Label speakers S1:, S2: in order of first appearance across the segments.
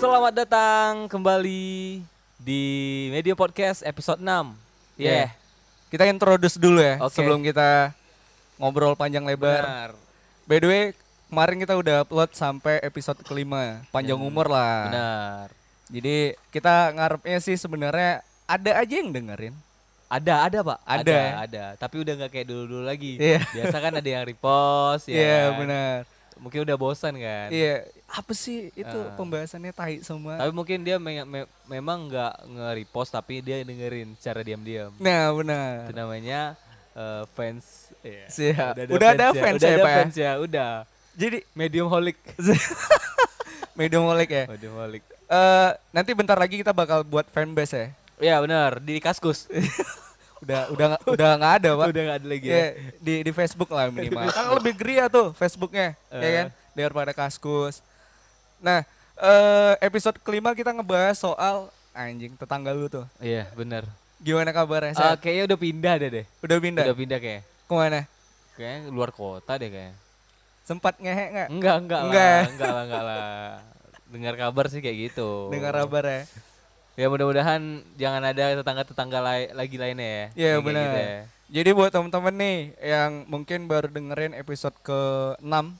S1: Selamat datang kembali di Media Podcast episode Iya. 6
S2: Ya.
S1: Yeah.
S2: Kita introduce dulu ya
S1: Oke.
S2: sebelum kita ngobrol panjang lebar.
S1: Benar
S2: By the way, kemarin kita udah upload sampai episode kelima, panjang umur lah.
S1: Benar
S2: Jadi kita ngarepnya sih sebenarnya ada aja yang dengerin.
S1: Ada, ada pak
S2: Ada.
S1: Ada, ada. Tapi udah nggak kayak dulu-dulu lagi
S2: Iya.
S1: Biasa kan ada yang repost
S2: Iya
S1: ya kan?
S2: benar.
S1: Mungkin udah bosan kan Ah.
S2: Iya apa sih itu pembahasannya tai semua.
S1: Tapi mungkin dia me- me- memang nggak nge-repost Tapi dia dengerin secara diam-diam
S2: Nah benar.
S1: Itu namanya eh, fans Iya.
S2: Siap.
S1: Udah,
S2: Udah ada fans
S1: udah
S2: ya,
S1: ada
S2: Pak ya?
S1: fans ya Udah
S2: Jadi
S1: Medium holic
S2: medium molek ya.
S1: Medium holic
S2: Eh, nanti bentar lagi kita bakal buat fanbase ya.
S1: Ya benar di kaskus
S2: Udah udah nggak- udah nggak ada pak.
S1: udah nggak ada lagi ya.
S2: Iya, di di Facebook lah minimal. kan lebih geria tuh Facebooknya, ya kan? Daripada kaskus. Nah, eh, episode kelima kita ngebahas soal anjing tetangga lu tuh.
S1: Iya benar.
S2: Gimana kabarnya?
S1: Eh
S2: Sat?
S1: kayaknya udah pindah deh deh.
S2: Ah. udah pindah?
S1: Udah pindah kayak.
S2: Kemana?
S1: Kayaknya luar kota deh kayaknya.
S2: Sempat ngehe nggak?
S1: Enggak enggak lah.
S2: Enggak.
S1: Enggak lah enggak lah. Dengar kabar sih kayak gitu.
S2: Dengar kabar ya?
S1: Ya mudah-mudahan jangan ada tetangga-tetangga lai- lagi lainnya ya.
S2: Iya
S1: Yang kayak
S2: benar.
S1: gitu ya.
S2: Jadi buat temen-temen nih yang mungkin baru dengerin episode ke-6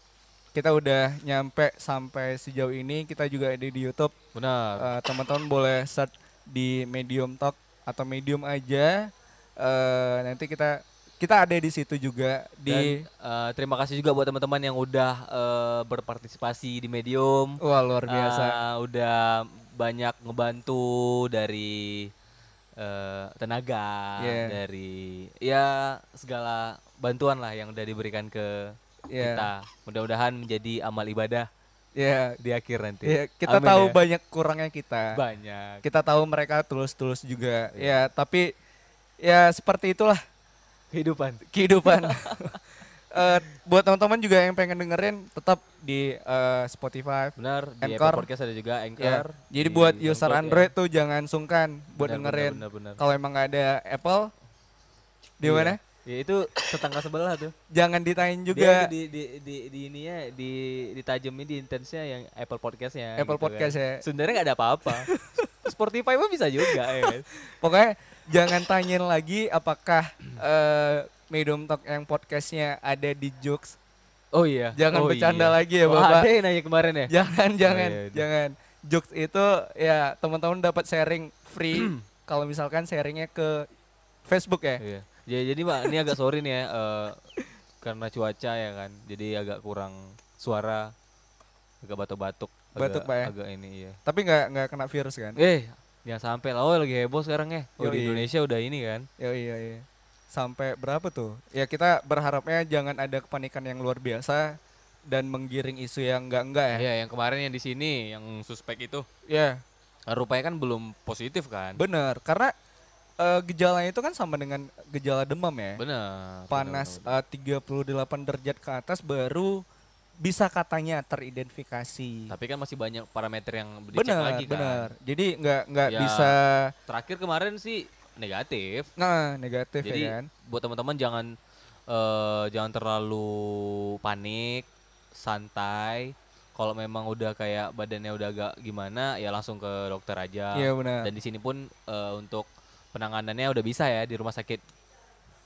S2: kita udah nyampe sampai sejauh ini kita juga ada di YouTube
S1: Benar.
S2: Eh, teman-teman boleh search di Medium Talk atau Medium aja. Eh, nanti kita kita ada di situ juga
S1: Dan
S2: di
S1: eh, terima kasih juga buat teman-teman yang udah eh, berpartisipasi di Medium.
S2: wah luar biasa.
S1: Ah, udah banyak ngebantu dari eh, tenaga,
S2: Yeah.
S1: dari ya segala bantuan lah yang udah diberikan ke
S2: Yeah.
S1: kita. Mudah-mudahan menjadi amal ibadah
S2: Ya,
S1: di akhir nanti.
S2: ya, kita
S1: Amin
S2: tahu
S1: ya.
S2: banyak kurangnya kita.
S1: banyak.
S2: Kita tahu mereka tulus-tulus juga.
S1: Iya.
S2: Ya, tapi ya seperti itulah
S1: kehidupan.
S2: kehidupan. Eh, buat teman-teman juga yang pengen dengerin tetap di eh, Spotify.
S1: Benar, di
S2: Anchor.
S1: Apple Podcast ada juga
S2: Ya.
S1: Anchor.
S2: Jadi
S1: Iya. di
S2: buat user
S1: SoundCloud ya.
S2: Android tuh jangan sungkan buat
S1: Benar,
S2: dengerin.
S1: Benar, benar, benar.
S2: Kalau emang nggak ada Apple, di
S1: Iya.
S2: mana?
S1: Ya itu tetangga sebelah tuh.
S2: Jangan ditanyain
S1: Dia
S2: juga
S1: di di di di ininya di ditajemin di intensnya yang Apple Podcastnya. gitu
S2: Apple
S1: kan.
S2: Podcast ya.
S1: Sebenarnya nggak ada apa-apa. Spotify mah bisa juga ya. kan?
S2: Pokoknya jangan tanyain lagi apakah eh Medium Talk yang podcastnya ada di jokes.
S1: Oh iya.
S2: Jangan
S1: Oh iya.
S2: bercanda lagi ya
S1: Wah,
S2: bapak.
S1: ada yang nanya kemarin ya.
S2: Jangan, jangan,
S1: iya, iya.
S2: jangan. Jokes itu ya teman-teman dapat sharing free. kalau misalkan sharingnya ke Facebook ya.
S1: Iya. Ya, jadi Pak, ini agak sorry nih ya eh, karena cuaca ya kan. Jadi agak kurang suara agak batuk-batuk. agak-
S2: Batuk, Pak, ya?
S1: Agak ini iya.
S2: Tapi nggak nggak kena virus kan?
S1: Eh, jangan sampai lah. Oh, lagi heboh sekarang ya. Oh, di
S2: Yoi.
S1: Indonesia udah ini kan.
S2: Ya iya iya. Sampai berapa tuh? Ya kita berharapnya jangan ada kepanikan yang luar biasa dan menggiring isu yang enggak-enggak ya.
S1: Iya, yang kemarin yang di sini yang suspek itu
S2: Ya,
S1: rupanya kan belum positif kan?
S2: bener. Karena eh, gejalanya itu kan sama dengan gejala demam ya.
S1: Benar.
S2: Panas eh, 38 derajat ke atas baru bisa katanya teridentifikasi.
S1: Tapi kan masih banyak parameter yang dicek
S2: Bener,
S1: lagi kan.
S2: bener. Jadi nggak nggak
S1: Ya.
S2: bisa
S1: Terakhir kemarin sih negatif.
S2: nah negatif
S1: Jadi
S2: ya kan.
S1: buat teman-teman jangan eh, jangan terlalu panik, santai. Kalau memang udah kayak badannya udah agak gimana ya langsung ke dokter aja.
S2: Iya benar.
S1: Dan di sini pun eh, untuk penanganannya udah bisa ya di rumah sakit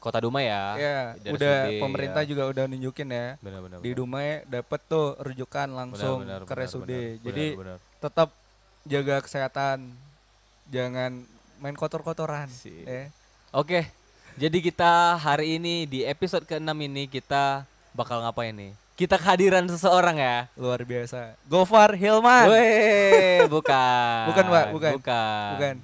S1: Kota Dumai ya.
S2: Ya,
S1: dari
S2: udah
S1: SUD,
S2: pemerintah
S1: ya.
S2: juga udah nunjukin ya.
S1: Benar-benar.
S2: di Dumai dapat tuh rujukan langsung ke RSUD. Jadi tetap jaga kesehatan. Jangan main kotor-kotoran.
S1: Sip.
S2: Ya.
S1: Oke. Jadi kita hari ini di episode ke-6 ini kita bakal ngapain nih? Kita kehadiran seseorang ya.
S2: Luar biasa. Gofar Hilman.
S1: Weh, Eh, bukan.
S2: Bukan, Pak, bukan.
S1: Bukan.
S2: Bukan.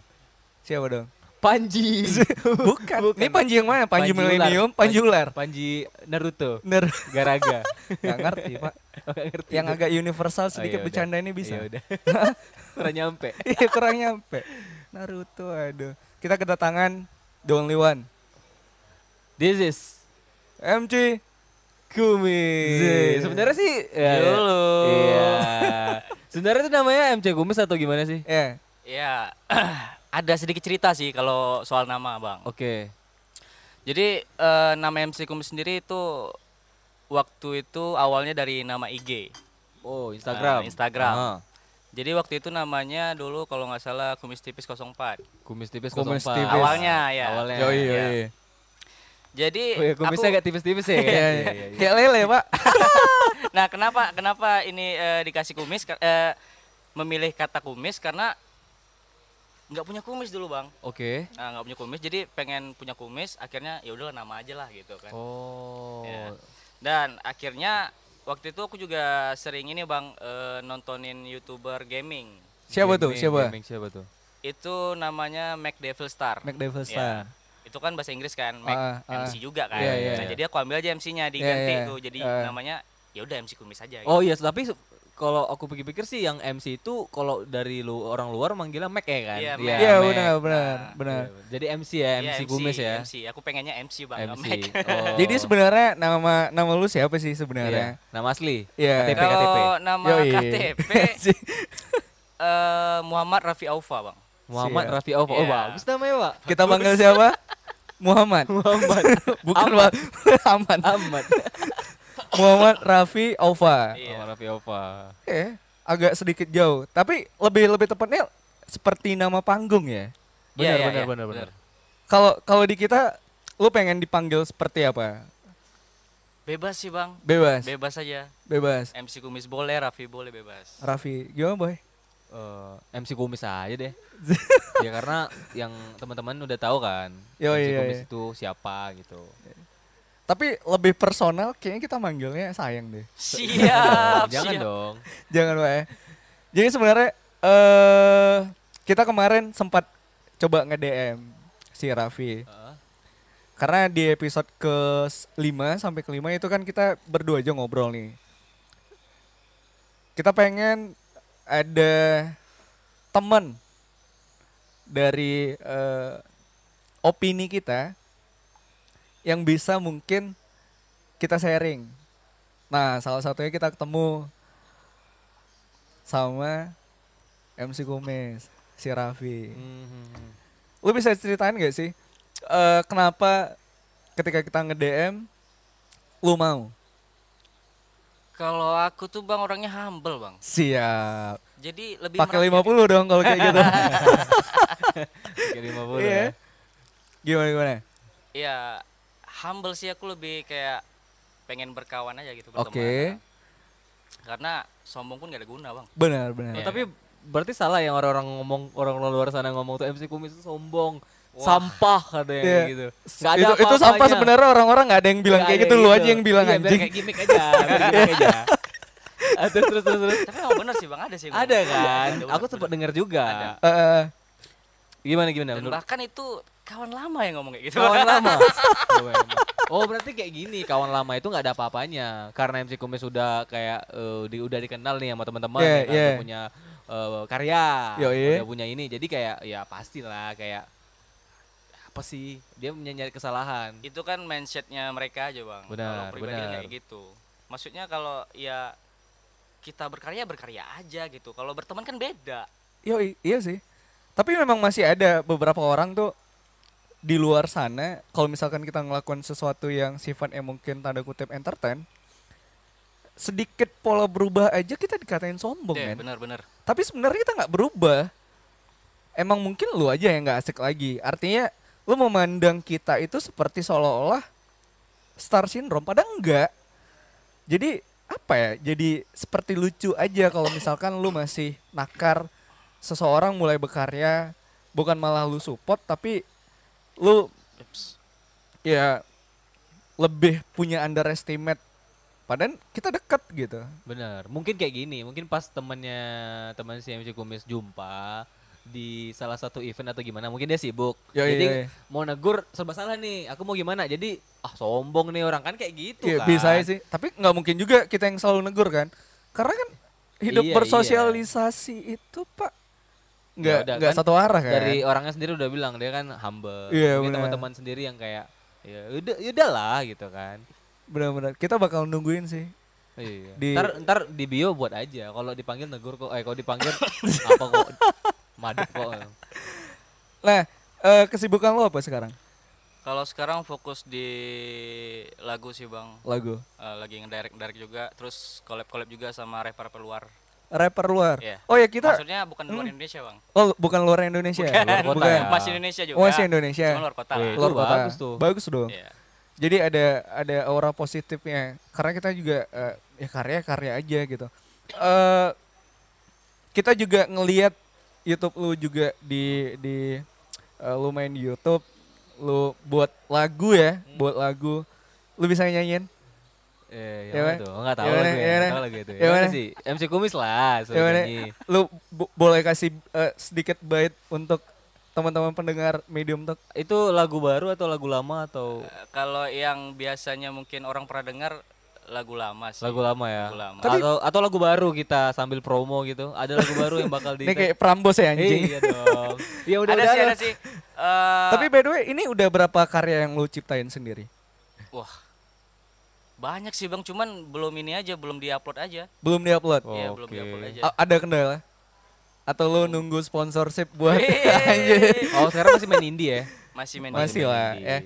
S2: Siapa dong?
S1: Panji.
S2: Bukan. Ini Panji yang mana? Panji,
S1: Panji ular.
S2: Millennium, Panji Ular.
S1: Panji Naruto.
S2: Bener.
S1: Garaga.
S2: Nggak ngerti, Pak.
S1: Nggak ngerti
S2: Yang
S1: tuh.
S2: agak universal
S1: Oh,
S2: sedikit
S1: iya udah.
S2: bercanda ini bisa.
S1: Iya udah. Kurang nyampe.
S2: Iya, kurang nyampe. Naruto, aduh. Kita kedatangan The Only One.
S1: This is
S2: MC
S1: Kumis.
S2: Zee.
S1: Sebenarnya sih ya,
S2: Eh. Yolo.
S1: Iya. Sebenarnya itu namanya MC Kumis atau gimana sih?
S2: Ya.
S3: Ya, ada sedikit cerita sih kalau soal nama, Bang.
S1: Oke.
S3: Jadi eh, nama MC Kumis sendiri itu waktu itu awalnya dari nama IG.
S1: Oh, Instagram.
S3: Ah, Instagram.
S1: Ah.
S3: Jadi waktu itu namanya dulu kalau nggak salah Kumis Tipis 04.
S1: Kumis tipis
S2: Kumis
S1: 04.
S2: tipis.
S3: Awalnya ya.
S1: Awalnya.
S2: Yoi,
S1: Iya.
S2: yoi.
S3: Jadi
S1: Oh iya, kumisnya
S3: aku-
S1: agak tipis-tipis ya.
S2: Iya,
S1: Iya,
S2: iya.
S1: iya, iya.
S2: Kayak lele, Pak.
S3: Nah, kenapa kenapa ini eh, dikasih kumis Ka- eh, memilih kata kumis karena nggak punya kumis dulu, Bang.
S1: Oke.
S3: Nah, nggak punya kumis jadi pengen punya kumis akhirnya ya udahlah nama aja lah gitu kan.
S1: Oh.
S3: Iya. Dan akhirnya waktu itu aku juga sering ini Bang eh, nontonin YouTuber gaming.
S2: Siapa tuh?
S1: Gaming-
S2: Siapa?
S1: gaming siapa tuh?
S3: Itu namanya Mac Devil Star.
S2: Mac Devil Star.
S3: Iya. Itu kan bahasa Inggris kan, Mac
S2: Ah, ah.
S3: MC juga kan.
S2: Iya, iya,
S3: Nah,
S2: iya.
S3: jadi aku ambil aja MC-nya diganti
S2: iya.
S3: tuh jadi
S2: Ah.
S3: namanya ya udah MC kumis aja gitu.
S1: Oh iya, tapi se- kalau aku pikir-pikir sih yang MC itu kalau dari lu orang luar manggilnya Mac ya kan?
S3: Iya, Mac.
S2: Iya,
S1: Mac.
S2: benar, benar,
S3: Nah,
S2: benar.
S1: Iya, Jadi MC ya,
S3: Iya,
S1: MC Kumis ya.
S3: MC. Aku pengennya MC Bang, nggak
S1: MC.
S3: Mac.
S1: Oh.
S2: Jadi sebenarnya nama nama lu siapa sih
S1: Iya.
S2: sebenarnya?
S1: Nama asli.
S2: Iya.
S1: KTP, KTP.
S3: Kalau nama
S2: Yoi.
S3: KTP eh, Muhammad Rafi Aufa, Bang.
S1: Muhammad
S2: Siap.
S1: Rafi Alfa. Oh,
S3: Iya.
S1: bagus namanya, Pak.
S2: Kita panggil siapa? Muhammad.
S1: Muhammad.
S2: Bukan
S1: Ahmad.
S2: Pak. Aman.
S1: Ahmad.
S2: Muhammad Raffi Aufa.
S3: Iya.
S1: Muhammad Rafi Alfa.
S2: Eh, agak sedikit jauh, tapi lebih lebih tepatnya seperti nama panggung ya.
S3: Iya,
S1: Benar, benar,
S3: iya, iya,
S1: benar, benar.
S2: Kalau kalau di kita lu pengen dipanggil seperti apa?
S3: Bebas sih, Bang.
S2: Bebas.
S3: Bebas aja.
S2: Bebas.
S3: MC Kumis boleh, Raffi boleh bebas.
S2: Raffi, gimana boy?
S1: Eh, MC Kumis aja deh. ya karena yang teman-teman udah tahu kan.
S2: Yo,
S1: MC
S2: iya,
S1: Kumis
S2: iya.
S1: itu siapa gitu.
S2: Tapi lebih personal kayaknya kita manggilnya sayang deh.
S3: Siap,
S1: Jangan
S3: siap.
S1: dong.
S2: Jangan Pak ya. Jadi sebenarnya eh kita kemarin sempat coba nge-DM si Raffi.
S1: Heeh.
S2: Karena di episode ke-5 sampai ke-5 itu kan kita berdua aja ngobrol nih. Kita pengen ada temen dari eh, opini kita yang bisa mungkin kita sharing. Nah, salah satunya kita ketemu sama MC Gomez, si Raffi.
S1: Mhm.
S2: Lu bisa ceritain gak sih eh, kenapa ketika kita nge-DM lu mau?
S3: Kalau aku tuh Bang orangnya humble, Bang.
S2: Siap.
S3: Jadi lebih
S2: Pakai
S3: merhatiin-
S2: 50 dong kalau kayak gitu.
S1: Oke, 50
S2: Iya.
S1: ya.
S2: Gimana gimana?
S3: Iya, humble sih aku lebih kayak pengen berkawan aja gitu
S2: Oke.
S3: Karena sombong pun gak ada guna, Bang.
S1: Oh,
S2: Benar benar.
S1: tapi berarti salah yang orang-orang ngomong orang-orang luar sana ngomong tuh MC Kumis itu sombong. Sampah ada yang
S2: Iya.
S1: kayak gitu. Nggak ada
S2: itu itu sampah
S1: apa-apanya.
S2: sebenarnya orang-orang nggak ada yang bilang
S1: Nggak
S2: kayak
S1: ada
S2: gitu, lu aja yang bilang
S1: Iya, biar
S2: anjing.
S1: kayak gimmick aja, biar gimmick aja. Ah, terus terus terus. terus.
S3: Tapi emang bener sih, Bang, ada sih. Bang.
S1: Ada kan?
S3: Ada,
S1: Aku
S3: bener,
S1: sempat
S3: bener.
S1: dengar juga.
S3: Ada.
S2: Heeh.
S1: Gimana gimana?
S3: Dan
S1: Menurut
S3: bahkan itu kawan lama yang ngomong kayak gitu.
S1: kawan lama. Oh berarti kayak gini kawan lama itu nggak ada apa-apanya karena MC Kumis sudah kayak eh, di, udah dikenal nih sama teman-teman
S2: Yeah,
S1: ya kan,
S2: yeah.
S1: udah punya eh, karya
S2: Yoi.
S1: udah punya ini jadi kayak ya pastilah kayak apa sih dia nyari kesalahan
S3: itu kan mindsetnya mereka aja bang
S1: Benar,
S3: kalau pribadi
S1: benar.
S3: kayak gitu maksudnya kalau ya kita berkarya berkarya aja gitu kalau berteman kan beda
S2: Yo iya sih. Tapi memang masih ada beberapa orang tuh di luar sana kalau misalkan kita ngelakuin sesuatu yang sifatnya mungkin tanda kutip entertain sedikit pola berubah aja kita dikatain sombong
S3: Iya,
S2: kan.
S3: benar benar
S2: Tapi sebenarnya kita nggak berubah. Emang mungkin lu aja yang nggak asik lagi. Artinya lu memandang kita itu seperti seolah-olah star syndrome padahal enggak. Jadi apa ya? Jadi seperti lucu aja kalau misalkan lu masih nakar seseorang mulai berkarya bukan malah lu support tapi lu
S3: Ups.
S2: ya lebih punya underestimate padahal kita deket gitu.
S1: Bener, mungkin kayak gini, mungkin pas temennya teman si MC Kumis jumpa di salah satu event atau gimana, mungkin dia sibuk.
S2: Yoi,
S1: jadi
S2: yoi.
S1: mau negur serba salah nih, aku mau gimana? Jadi ah sombong nih orang kan kayak gitu
S2: Iya
S1: kan.
S2: bisa aja sih. Tapi nggak mungkin juga kita yang selalu negur kan. Karena kan
S1: Iya,
S2: hidup
S1: iya.
S2: bersosialisasi itu pak nggak
S1: Ya udah,
S2: nggak
S1: kan
S2: satu arah kan.
S1: Dari orangnya sendiri udah bilang dia kan humble.
S2: Iya,
S1: mungkin
S2: bener.
S1: teman-teman sendiri yang kayak ya udah ya udahlah gitu kan.
S2: Benar-benar kita bakal nungguin sih.
S1: Iya.
S2: Di-
S1: Ntar, ntar di bio buat aja. Kalau dipanggil negur kok, eh kalau dipanggil apa kok madep kok.
S2: Nah eh, kesibukan lo apa sekarang
S3: kalau sekarang fokus di lagu sih bang
S2: lagu?
S3: Eh, lagi ngedirect direct juga terus collab collab juga sama rapper rapper luar
S2: Eh rapper luar.
S3: Iya.
S2: Oh ya kita
S3: Maksudnya bukan luar Indonesia, Bang.
S2: oh bukan luar Indonesia. ya?
S1: Luar kota
S2: bukan.
S1: ya.
S3: Masih Indonesia juga.
S2: Oh, masih Indonesia.
S3: Cuma luar kota.
S1: Wih,
S3: lah.
S1: itu
S2: Luar kota.
S1: bagus tuh.
S2: Bagus dong.
S3: Iya.
S2: Jadi ada ada aura positifnya karena kita juga eh, ya karya-karya aja gitu. Eh kita juga ngelihat YouTube lu juga di di eh, lu main di YouTube, lu buat lagu ya,
S1: Hmm.
S2: buat lagu. Lu bisa nyanyiin?
S1: Eh,
S2: Ya
S1: yang
S2: mana?
S1: mana tuh? Enggak tahu
S2: Ya mana?
S1: lagi.
S2: Ya mana?
S1: Enggak tahu lagi itu.
S2: Ya
S1: Yang mana
S2: mana? Ya
S1: sih? MC Kumis lah, suruh
S2: Gimana?
S1: nyanyi.
S2: Lu bo- boleh kasih eh, sedikit bait untuk teman-teman pendengar medium talk?
S1: Itu lagu baru atau lagu lama atau
S3: Eh, Kalau yang biasanya mungkin orang pernah dengar lagu lama sih.
S1: lagu lama ya?
S3: Lagu lama.
S1: atau atau lagu baru kita sambil promo gitu. Ada lagu baru yang bakal di
S2: Ini kayak Prambos ya anjing.
S1: Iya dong. Ya udah
S3: ada
S1: udah.
S3: sih,
S1: udah.
S3: ada sih. Eh,
S2: Tapi by the way, ini udah berapa karya yang lu ciptain sendiri?
S3: wah. Banyak sih, Bang, cuman belum ini aja, belum diupload aja.
S2: Belum diupload.
S3: Iya, belum
S1: Oke.
S3: diupload aja.
S2: A- ada kendala? Atau lu nunggu sponsorship buat
S1: Iya,
S3: Hei.
S1: Oh, sekarang masih main indie ya?
S3: Masih main
S2: Masih
S3: game.
S2: lah, ya.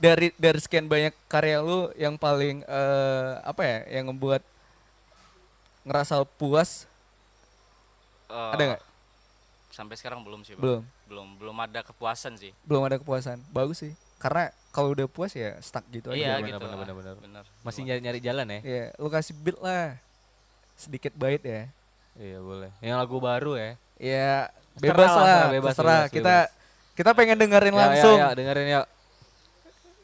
S2: Dari dari sekian banyak karya lu yang paling eh, apa ya, yang membuat ngerasa puas
S1: Oh.
S3: Eh,
S2: ada nggak?
S3: Sampai sekarang belum sih, Bang.
S2: Belum.
S3: Belum belum ada kepuasan sih.
S2: Belum ada kepuasan. Bagus sih. Karena kalau udah puas ya stuck gitu aja.
S3: Iya,
S1: benar,
S3: gitu.
S1: benar,
S3: lah.
S1: benar, benar.
S3: Benar.
S1: Masih nyari-nyari jalan ya?
S2: Iya, lu kasih beat lah. Sedikit bait ya.
S1: Iya, boleh. Yang lagu baru ya.
S2: Ya
S1: Terserah
S2: bebas
S1: lah,
S2: lah,
S1: bebas,
S2: terserah.
S1: bebas,
S2: kita kita pengen
S1: Ya,
S2: dengerin
S1: ya,
S2: langsung.
S1: Ya, dengerin ya.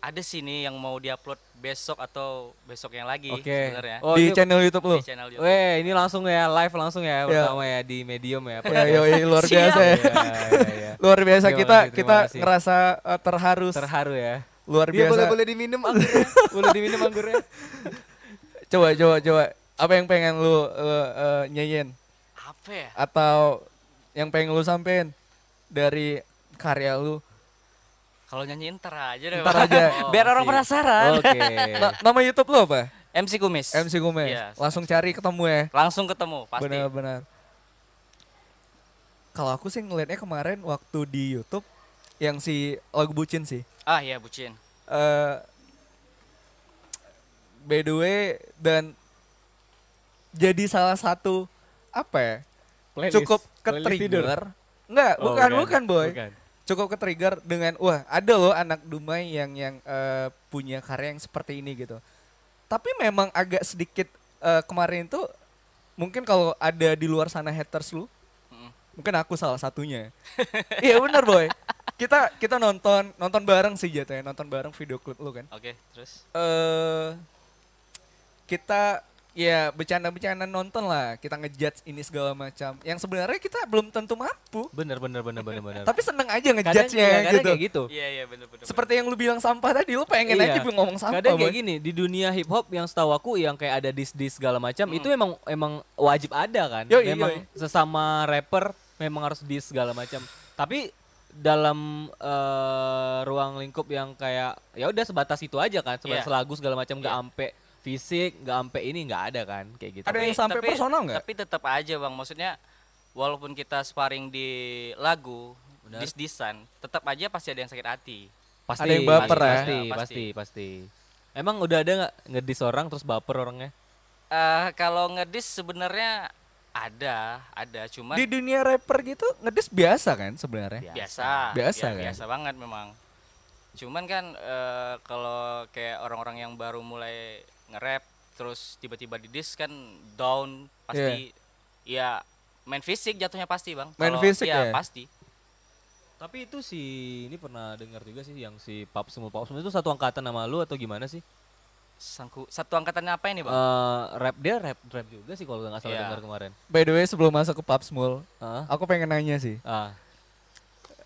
S3: ada sih nih yang mau diupload besok atau besok yang lagi
S1: Oke.
S3: sebenarnya
S1: Oh, ini,
S2: di channel YouTube lu.
S3: di channel YouTube.
S1: weh, ini langsung ya, live langsung ya, pertama ya di Medium ya.
S2: Ya, yo, yo, luar
S3: Siap.
S2: biasa
S1: Iya,
S2: ya.
S1: iya, iya.
S2: Luar biasa
S1: Terima
S2: kita
S1: kasih, terima
S2: kita
S1: kasih.
S2: ngerasa eh, terharu
S1: Terharu ya.
S2: luar
S1: Dia
S2: biasa.
S1: boleh boleh diminum anggurnya. boleh diminum anggurnya.
S2: Coba coba coba apa yang pengen lu eh, eh, nyanyiin
S3: apa ya
S2: atau yang pengen lu sampein dari karya lu?
S3: kalau nyanyi ntar aja deh
S2: Ntar
S3: Bang.
S2: aja.
S1: Oh,
S3: biar orang penasaran
S1: Oke.
S2: Na- nama YouTube lu apa?
S3: MC Kumis
S2: MC Gomez.
S3: Iya,
S2: Langsung cari ketemu ya.
S3: langsung ketemu pasti
S2: Benar-benar. Kalau aku sih ngelihatnya kemarin waktu di YouTube yang si lagu bucin sih.
S3: ah iya bucin
S2: Eh by the way dan jadi salah satu apa ya? cukup ketrigger. Enggak,
S1: Oh,
S2: bukan,
S1: bukan,
S2: bukan boy.
S1: bukan.
S2: Cukup ketrigger dengan wah, ada loh anak Dumai yang yang eh, punya karya yang seperti ini gitu. Tapi memang agak sedikit eh, kemarin tuh mungkin kalau ada di luar sana haters lu,
S3: Mm.
S2: mungkin aku salah satunya. Iya benar boy. Kita kita nonton nonton bareng sih jatuhnya, nonton bareng video klip lu kan.
S3: oke terus
S2: Eh kita ya bercanda-bercanda nonton lah, kita ngejudge ini segala macam. Yang sebenarnya kita belum tentu mampu.
S1: Bener bener bener bener bener.
S2: Tapi seneng aja
S1: Kadang-
S2: ngejudge-nya
S1: iya, kadang
S2: gitu.
S1: kayak gitu.
S3: iya iya bener bener
S2: Seperti yang lu bilang sampah tadi, lu pengen
S1: Iya.
S2: aja bu- ngomong sampah.
S1: Kadang
S2: Boy.
S1: kayak gitu, gini di dunia hip hop yang setahu aku yang kayak ada dis dis segala macam itu emang emang wajib ada kan.
S2: Hmm. Yoi,
S1: memang sesama rapper memang harus dis segala macam. Tapi dalam eh, ruang lingkup yang kayak ya udah sebatas itu aja kan, sebatas
S3: Iya.
S1: lagu segala macam nggak ampe fisik, nggak ampe ini nggak ada kan kayak gitu.
S2: Ada yang sampai personal nggak?
S3: tapi tetap aja bang maksudnya walaupun kita sparring di lagu dis disan tetap aja pasti ada yang sakit hati
S1: pasti
S2: Ada yang baper
S1: pasti,
S2: ya?
S1: pasti,
S3: Ya,
S1: pasti
S3: pasti.
S1: pasti emang udah ada nggak ngedis orang terus baper orangnya
S3: Eh kalau ngedis sebenarnya ada ada cuman
S2: Di dunia rapper gitu, ngedis biasa
S1: Iya.
S2: kan sebenarnya.
S3: biasa
S2: Biasa
S3: Ya,
S2: kan?
S3: biasa banget memang cuman kan eh, kalau kayak orang-orang yang baru mulai nge-rap terus tiba-tiba di diss kan down pasti ya main fisik jatuhnya pasti bang
S2: Iya. Main
S3: Kalau-
S2: fisik
S3: iya,
S2: ya?
S3: pasti
S1: tapi itu si ini pernah dengar juga sih yang si pap semul pap semul itu satu angkatan sama lu atau gimana sih
S3: Sangku, satu angkatannya
S2: Oh.
S3: apa ini bang
S1: Eh, rap dia rap rap juga sih kalau nggak salah
S3: Iya.
S1: dengar kemarin
S2: By the way, sebelum masuk ke Pub Small,
S1: Heeh.
S2: aku pengen nanya sih.
S1: ah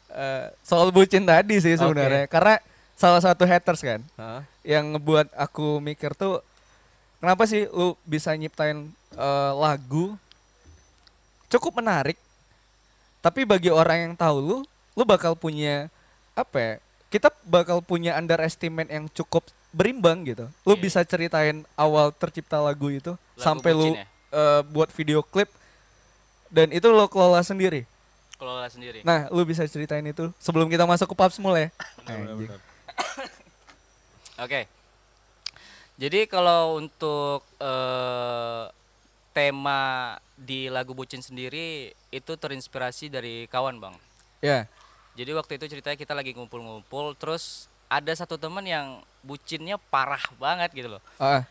S2: eh, soal bucin tadi sih sebenarnya. Karena salah satu haters kan,
S1: Heeh.
S2: yang ngebuat aku mikir tuh, kenapa sih lu bisa nyiptain eh, lagu cukup menarik, tapi bagi orang yang tahu lu, lu bakal punya apa ya? Kita bakal punya underestimate yang cukup berimbang gitu. Lu
S3: Iya.
S2: bisa ceritain awal tercipta lagu itu
S3: Lagu
S2: sampai lu
S3: bucin ya?
S2: eh, buat video klip dan itu lo kelola sendiri.
S3: kalau lah sendiri
S2: Nah, lu bisa ceritain itu sebelum kita masuk ke pubs mulai. Anjing.
S3: oke jadi kalau untuk eh, tema di lagu bucin sendiri itu terinspirasi dari kawan bang
S2: Ya.
S3: jadi waktu itu ceritanya kita lagi ngumpul-ngumpul terus ada satu teman yang bucinnya parah banget gitu loh
S2: Ah,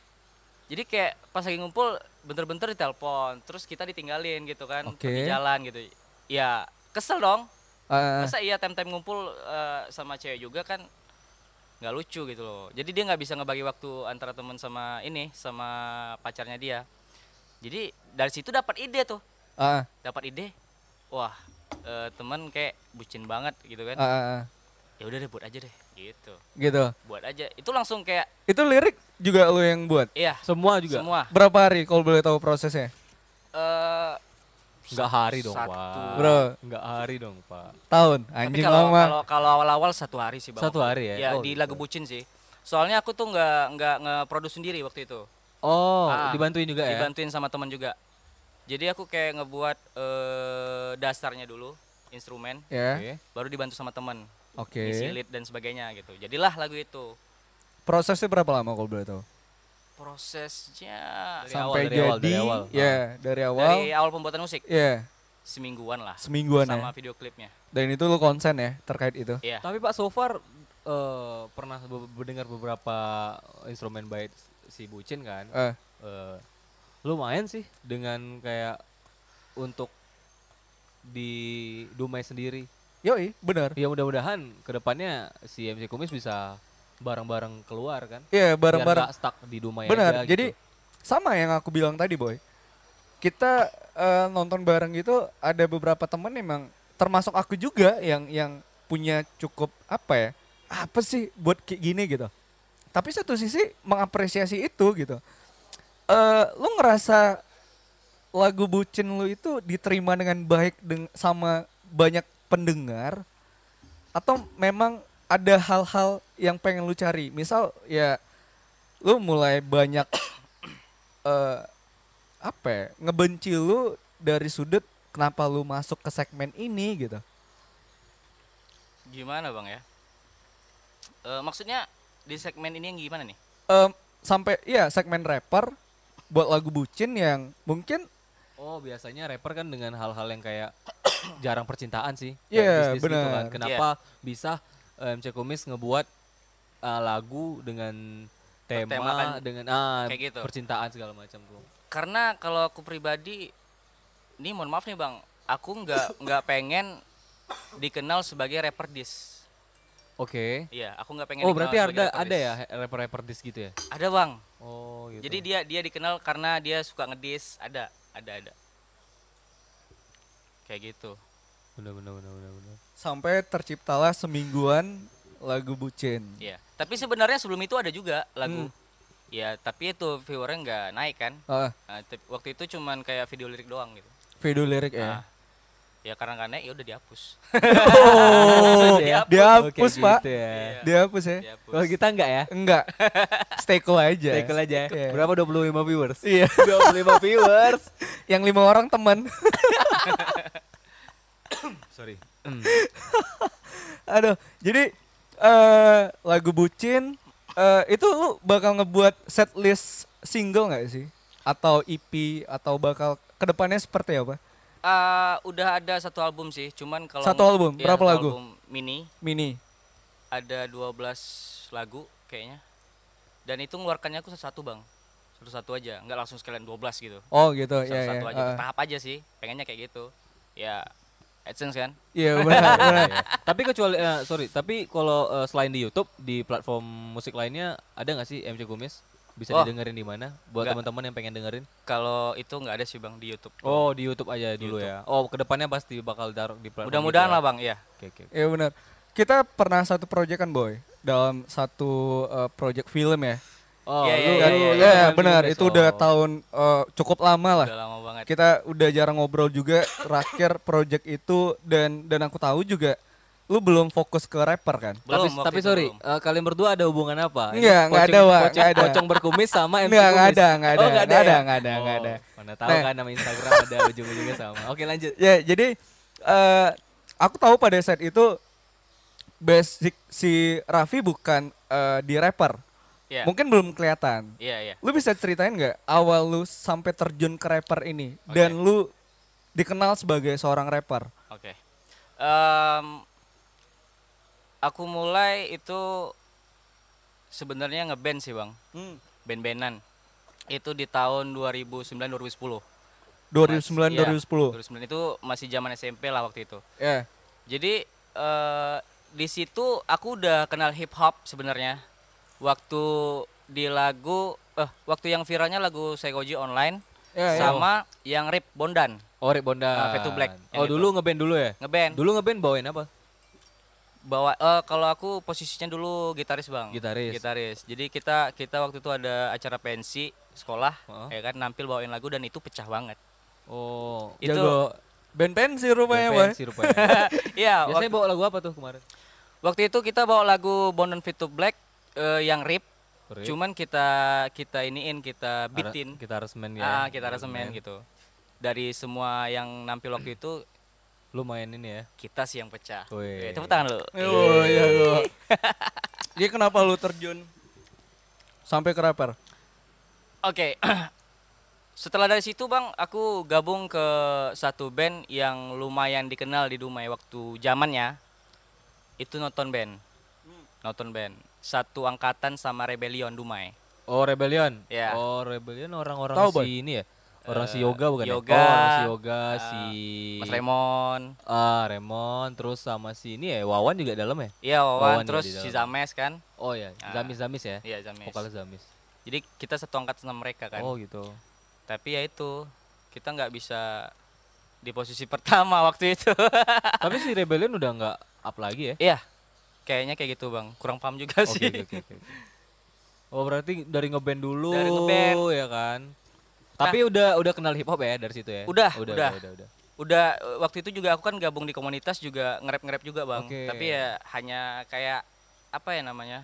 S3: jadi kayak pas lagi ngumpul bentar-bentar ditelepon terus kita ditinggalin gitu kan
S2: Oke.
S3: pergi jalan gitu ya kesel dong
S2: ah,
S3: masa iya tem-tem ngumpul eh, sama cewek juga kan nggak lucu gitu loh jadi dia nggak bisa ngebagi waktu antara temen sama ini sama pacarnya dia jadi dari situ dapat ide tuh
S2: ah,
S3: dapat ide wah eh, temen kayak bucin banget gitu
S2: ah,
S3: kan
S2: ah, ah.
S3: ya udah deh buat aja deh gitu
S2: gitu.
S3: buat aja itu langsung kayak
S2: Itu lirik juga lu yang buat.
S3: iya
S1: Semua juga.
S3: semua
S2: Berapa hari kalau boleh tahu prosesnya?
S3: eh
S1: Enggak hari dong,
S3: Satu.
S1: Pak.
S2: Bro,
S1: Enggak hari dong, Pak.
S2: tahun.
S3: Tapi
S2: Anjing
S3: kalau
S2: lama.
S3: kalau kalau awal-awal satu hari sih bang.
S1: Satu hari ya?
S3: Ya
S1: Oh,
S3: di
S1: gitu.
S3: lagu bucin sih. Soalnya aku tuh nggak nggak ngeproduksi sendiri waktu itu.
S1: Oh,
S3: Ah,
S1: dibantuin juga ya.
S3: Dibantuin sama teman juga. Jadi aku kayak ngebuat eh, dasarnya dulu instrumen,
S2: ya.
S3: baru dibantu sama teman,
S2: Oke.
S3: isi lead dan sebagainya gitu. Jadilah lagu itu.
S2: Prosesnya berapa lama kalau boleh tahu?
S3: Prosesnya
S1: Dari awal,
S2: Sampai
S1: dari
S2: jadi
S1: awal, dari awal.
S2: ya, dari awal.
S3: dari awal pembuatan musik
S2: Ya,
S3: semingguan lah
S2: semingguan ya.
S3: sama video klipnya.
S2: Dan itu lu konsen ya terkait itu.
S3: Iya.
S1: Tapi Pak so far eh, pernah be- mendengar beberapa instrumen baik si Bucin kan?
S2: Eh,
S1: Eh, lumayan sih dengan kayak untuk di Dumai sendiri.
S2: yoi, benar.
S1: Ya mudah-mudahan kedepannya si MC Kumis bisa bareng-bareng keluar kan?
S2: Iya,
S1: Biar
S2: bareng-bareng.
S1: nggak stuck di Dumai aja
S2: Benar.
S1: gitu.
S2: Jadi sama yang aku bilang tadi, Boy. Kita eh, nonton bareng gitu ada beberapa temen memang termasuk aku juga yang yang punya cukup apa ya? Apa sih buat kayak gini gitu. Tapi satu sisi mengapresiasi itu gitu. Eh lu ngerasa lagu bucin lu itu diterima dengan baik deng- sama banyak pendengar atau memang ada hal-hal yang pengen lu cari? Misal ya lu mulai banyak eh apa ya, ngebenci lu dari sudut kenapa lu masuk ke segmen ini gitu
S3: Gimana bang ya? Eh, maksudnya di segmen ini yang gimana nih?
S2: Em, sampai ya segmen rapper buat lagu bucin yang mungkin
S1: Oh biasanya rapper kan dengan hal-hal yang kayak jarang percintaan sih, kayak
S2: Iya,
S1: bisnis gitu kan.
S2: benar.
S1: Kenapa
S3: Iya.
S1: bisa eh, MC Kumis ngebuat eh, lagu dengan tema
S3: Bertemakan
S1: dengan ah,
S3: kayak gitu.
S1: percintaan segala macam tuh.
S3: karena kalau aku pribadi ini mohon maaf nih bang aku nggak nggak pengen dikenal sebagai rapper dis
S1: Oke.
S3: iya aku nggak pengen
S1: Oh
S3: dikenal
S1: berarti
S3: sebagai
S1: ada
S3: rapper
S1: ada
S3: dis.
S1: ya he- rapper-rapper dis gitu ya?
S3: ada bang
S1: Oh gitu.
S3: jadi dia dia dikenal karena dia suka ngedis ada ada ada kayak gitu
S1: bener bener bener bener. bener.
S2: sampai terciptalah semingguan lagu bucin
S3: iya tapi sebenarnya sebelum itu ada juga lagu
S1: Hmm.
S3: ya tapi itu viewernya nggak naik kan
S2: Ah,
S3: Nah, tep- waktu itu cuman kayak video lirik doang gitu
S2: video lirik ya
S3: Ah. ya karena nggak naik ya udah dihapus
S2: oh
S1: Dihapus.
S2: dihapus
S1: Oke,
S2: pak
S1: gitu ya.
S3: Iya.
S2: dihapus ya
S3: dihapus
S1: Kalau kita enggak ya?
S2: enggak stay cool aja
S1: Take aja. ya.
S2: Iya.
S1: Berapa 25 viewers?
S2: iya
S1: 25 viewers.
S2: yang lima orang temen
S1: Sorry.
S2: Aduh, jadi eh lagu bucin eh itu lu bakal ngebuat setlist single nggak sih? Atau EP atau bakal kedepannya seperti apa?
S3: Eh, udah ada satu album sih, cuman kalau
S2: Satu album,
S3: Iya,
S2: berapa
S3: satu
S2: lagu?
S3: album mini
S2: Mini.
S3: ada 12 lagu kayaknya. Dan itu ngeluarkannya aku satu-satu, Bang. Satu-satu aja, nggak langsung sekalian 12 gitu.
S2: Oh gitu, ya ya.
S3: Satu-satu aja,
S2: eh.
S3: bertahap aja sih. Pengennya kayak gitu. Ya, AdSense kan?
S2: Iya benar, benar.
S1: tapi kecuali eh, sorry tapi kalau eh, selain di YouTube di platform musik lainnya ada nggak sih MC Kumis bisa
S3: Oh.
S1: didengerin di mana buat
S3: Nggak.
S1: teman-teman yang pengen dengerin
S3: Kalau itu nggak ada sih, Bang, di YouTube.
S1: oh di YouTube aja dulu ya oh kedepannya pasti bakal taruh di platform
S3: Mudah-mudahan
S1: gitu ya.
S3: lah, Bang, ya.
S1: Oke, oke.
S2: Iya benar. Kita pernah satu project kan boy dalam satu eh, project film ya.
S1: oh
S3: Iya, iya,
S1: lu- lu-
S2: Kan-
S3: iya,
S1: lu
S2: ya,
S1: dengerin
S2: benar.
S1: Kumis,
S2: Itu
S1: oh.
S2: udah tahun eh, cukup lama lah.
S3: Udah lama banget.
S2: kita udah jarang ngobrol juga terakhir project itu dan dan aku tahu juga lu belum fokus ke rapper kan
S1: tapi,
S3: Belum waktu
S1: tapi
S3: itu
S1: sorry
S3: belum.
S1: eh, kalian berdua ada hubungan apa Ini
S2: Nggak, nggak
S1: pocong-
S2: ada, Wak,
S1: pocong-
S2: nggak ada.
S1: pocong berkumis sama MC
S2: Nggak, nggak
S1: Kumis.
S2: ada, nggak ada,
S1: Oh, nggak ada
S2: nggak ada,
S1: ya?
S2: nggak ada, nggak
S1: Oh,
S2: ada.
S1: mana tahu
S2: Nah.
S1: kan nama Instagram ada ujung-ujungnya sama oke lanjut
S2: ya jadi eh aku tahu pada saat itu basic si Raffi bukan eh, di rapper
S3: Iya.
S2: Mungkin belum kelihatan.
S3: Iya, iya.
S2: Lu bisa ceritain nggak awal lu sampai terjun ke rapper ini dan lu dikenal sebagai seorang rapper?
S3: Oke. Em, aku mulai itu sebenarnya ngeband sih, Bang. Band-bandan. Itu di tahun 2009 2010.
S2: 2009
S3: Iya,
S2: 2010.
S3: 2009 itu masih zaman SMP lah waktu itu.
S2: Ya.
S3: Jadi eh di situ aku udah kenal hip hop sebenarnya. Waktu di lagu eh waktu yang viralnya lagu Segoji online
S2: Ya, ya.
S3: sama yang Rip Bondan
S1: Oh, Rick Bondan.
S3: Ah, Fade to Black, yang
S1: Oh,
S3: itu.
S1: dulu ngeband dulu ya?
S3: ngeband.
S1: Dulu ngeband bawain apa?
S3: Bawa eh kalau aku posisinya dulu gitaris, Bang.
S1: Gitaris.
S3: Gitaris. Jadi kita kita waktu itu ada acara pensi sekolah
S1: Heeh.
S3: ya kan nampil bawain lagu dan itu pecah banget.
S1: Oh,
S3: Itu-
S2: Jago band pensi rupanya, Boy.
S1: pensi rupanya.
S3: Iya,
S1: Biasanya bawa lagu apa tuh kemarin?
S3: Waktu itu kita bawa lagu Bondon Fit to Black eh, yang rip.
S1: Rip.
S3: Cuman kita kita iniin, kita bitin.
S1: Kita resmen
S3: Ah,
S1: ya.
S3: kita resemen gitu. Dari semua yang nampil waktu itu
S1: Lu main ini ya.
S3: kita sih yang pecah.
S1: Wih.
S3: Oke, Tepuk tangan dulu.
S2: Oh, jago. Jadi Iya, kenapa lu terjun sampai ke rapper?
S3: Oke. Setelah dari situ, Bang, aku gabung ke satu band yang lumayan dikenal di Dumai waktu zamannya. Itu Noton Band. Noton Band. Satu angkatan sama Rebellion Dumai.
S1: Oh, Rebellion.
S3: Ya. Eh,
S1: Oh, Rebellion orang-orang
S2: Tahu, Boy?
S1: si ini ya. Orang si Yoga bukan ya?
S3: Yoga, Ah.
S1: Oh, orang si Yoga, si
S3: Mas Lemon,
S1: Ah, Remon, terus sama si ini ya, Wawan juga dalam ya?
S3: Iya Wawan,
S1: Wawan ya
S3: terus
S1: di
S3: si
S1: dalam.
S3: Zames kan
S1: Oh ya, Zamis Zamis ya.
S3: Iya Zames
S1: Vokalis Zamis.
S3: Jadi kita satu angkatan sama mereka kan
S1: Oh gitu.
S3: Tapi ya itu Kita nggak bisa di posisi pertama waktu itu
S1: Tapi si Rebellion udah nggak up lagi ya?
S3: Iya Kayaknya kayak gitu bang Kurang paham juga
S1: Oke
S3: sih
S1: oke oke. oke. Oh berarti dari ngeband dulu
S3: Dari ngeband.
S1: ya kan. Tapi udah udah kenal hip hop ya dari situ ya?
S3: Udah,
S1: udah,
S3: udah.
S1: udah, udah.
S3: Udah eh, waktu itu juga aku kan gabung di komunitas juga ngerap-ngerap juga bang
S1: Oke.
S3: Tapi ya hanya kayak Apa ya namanya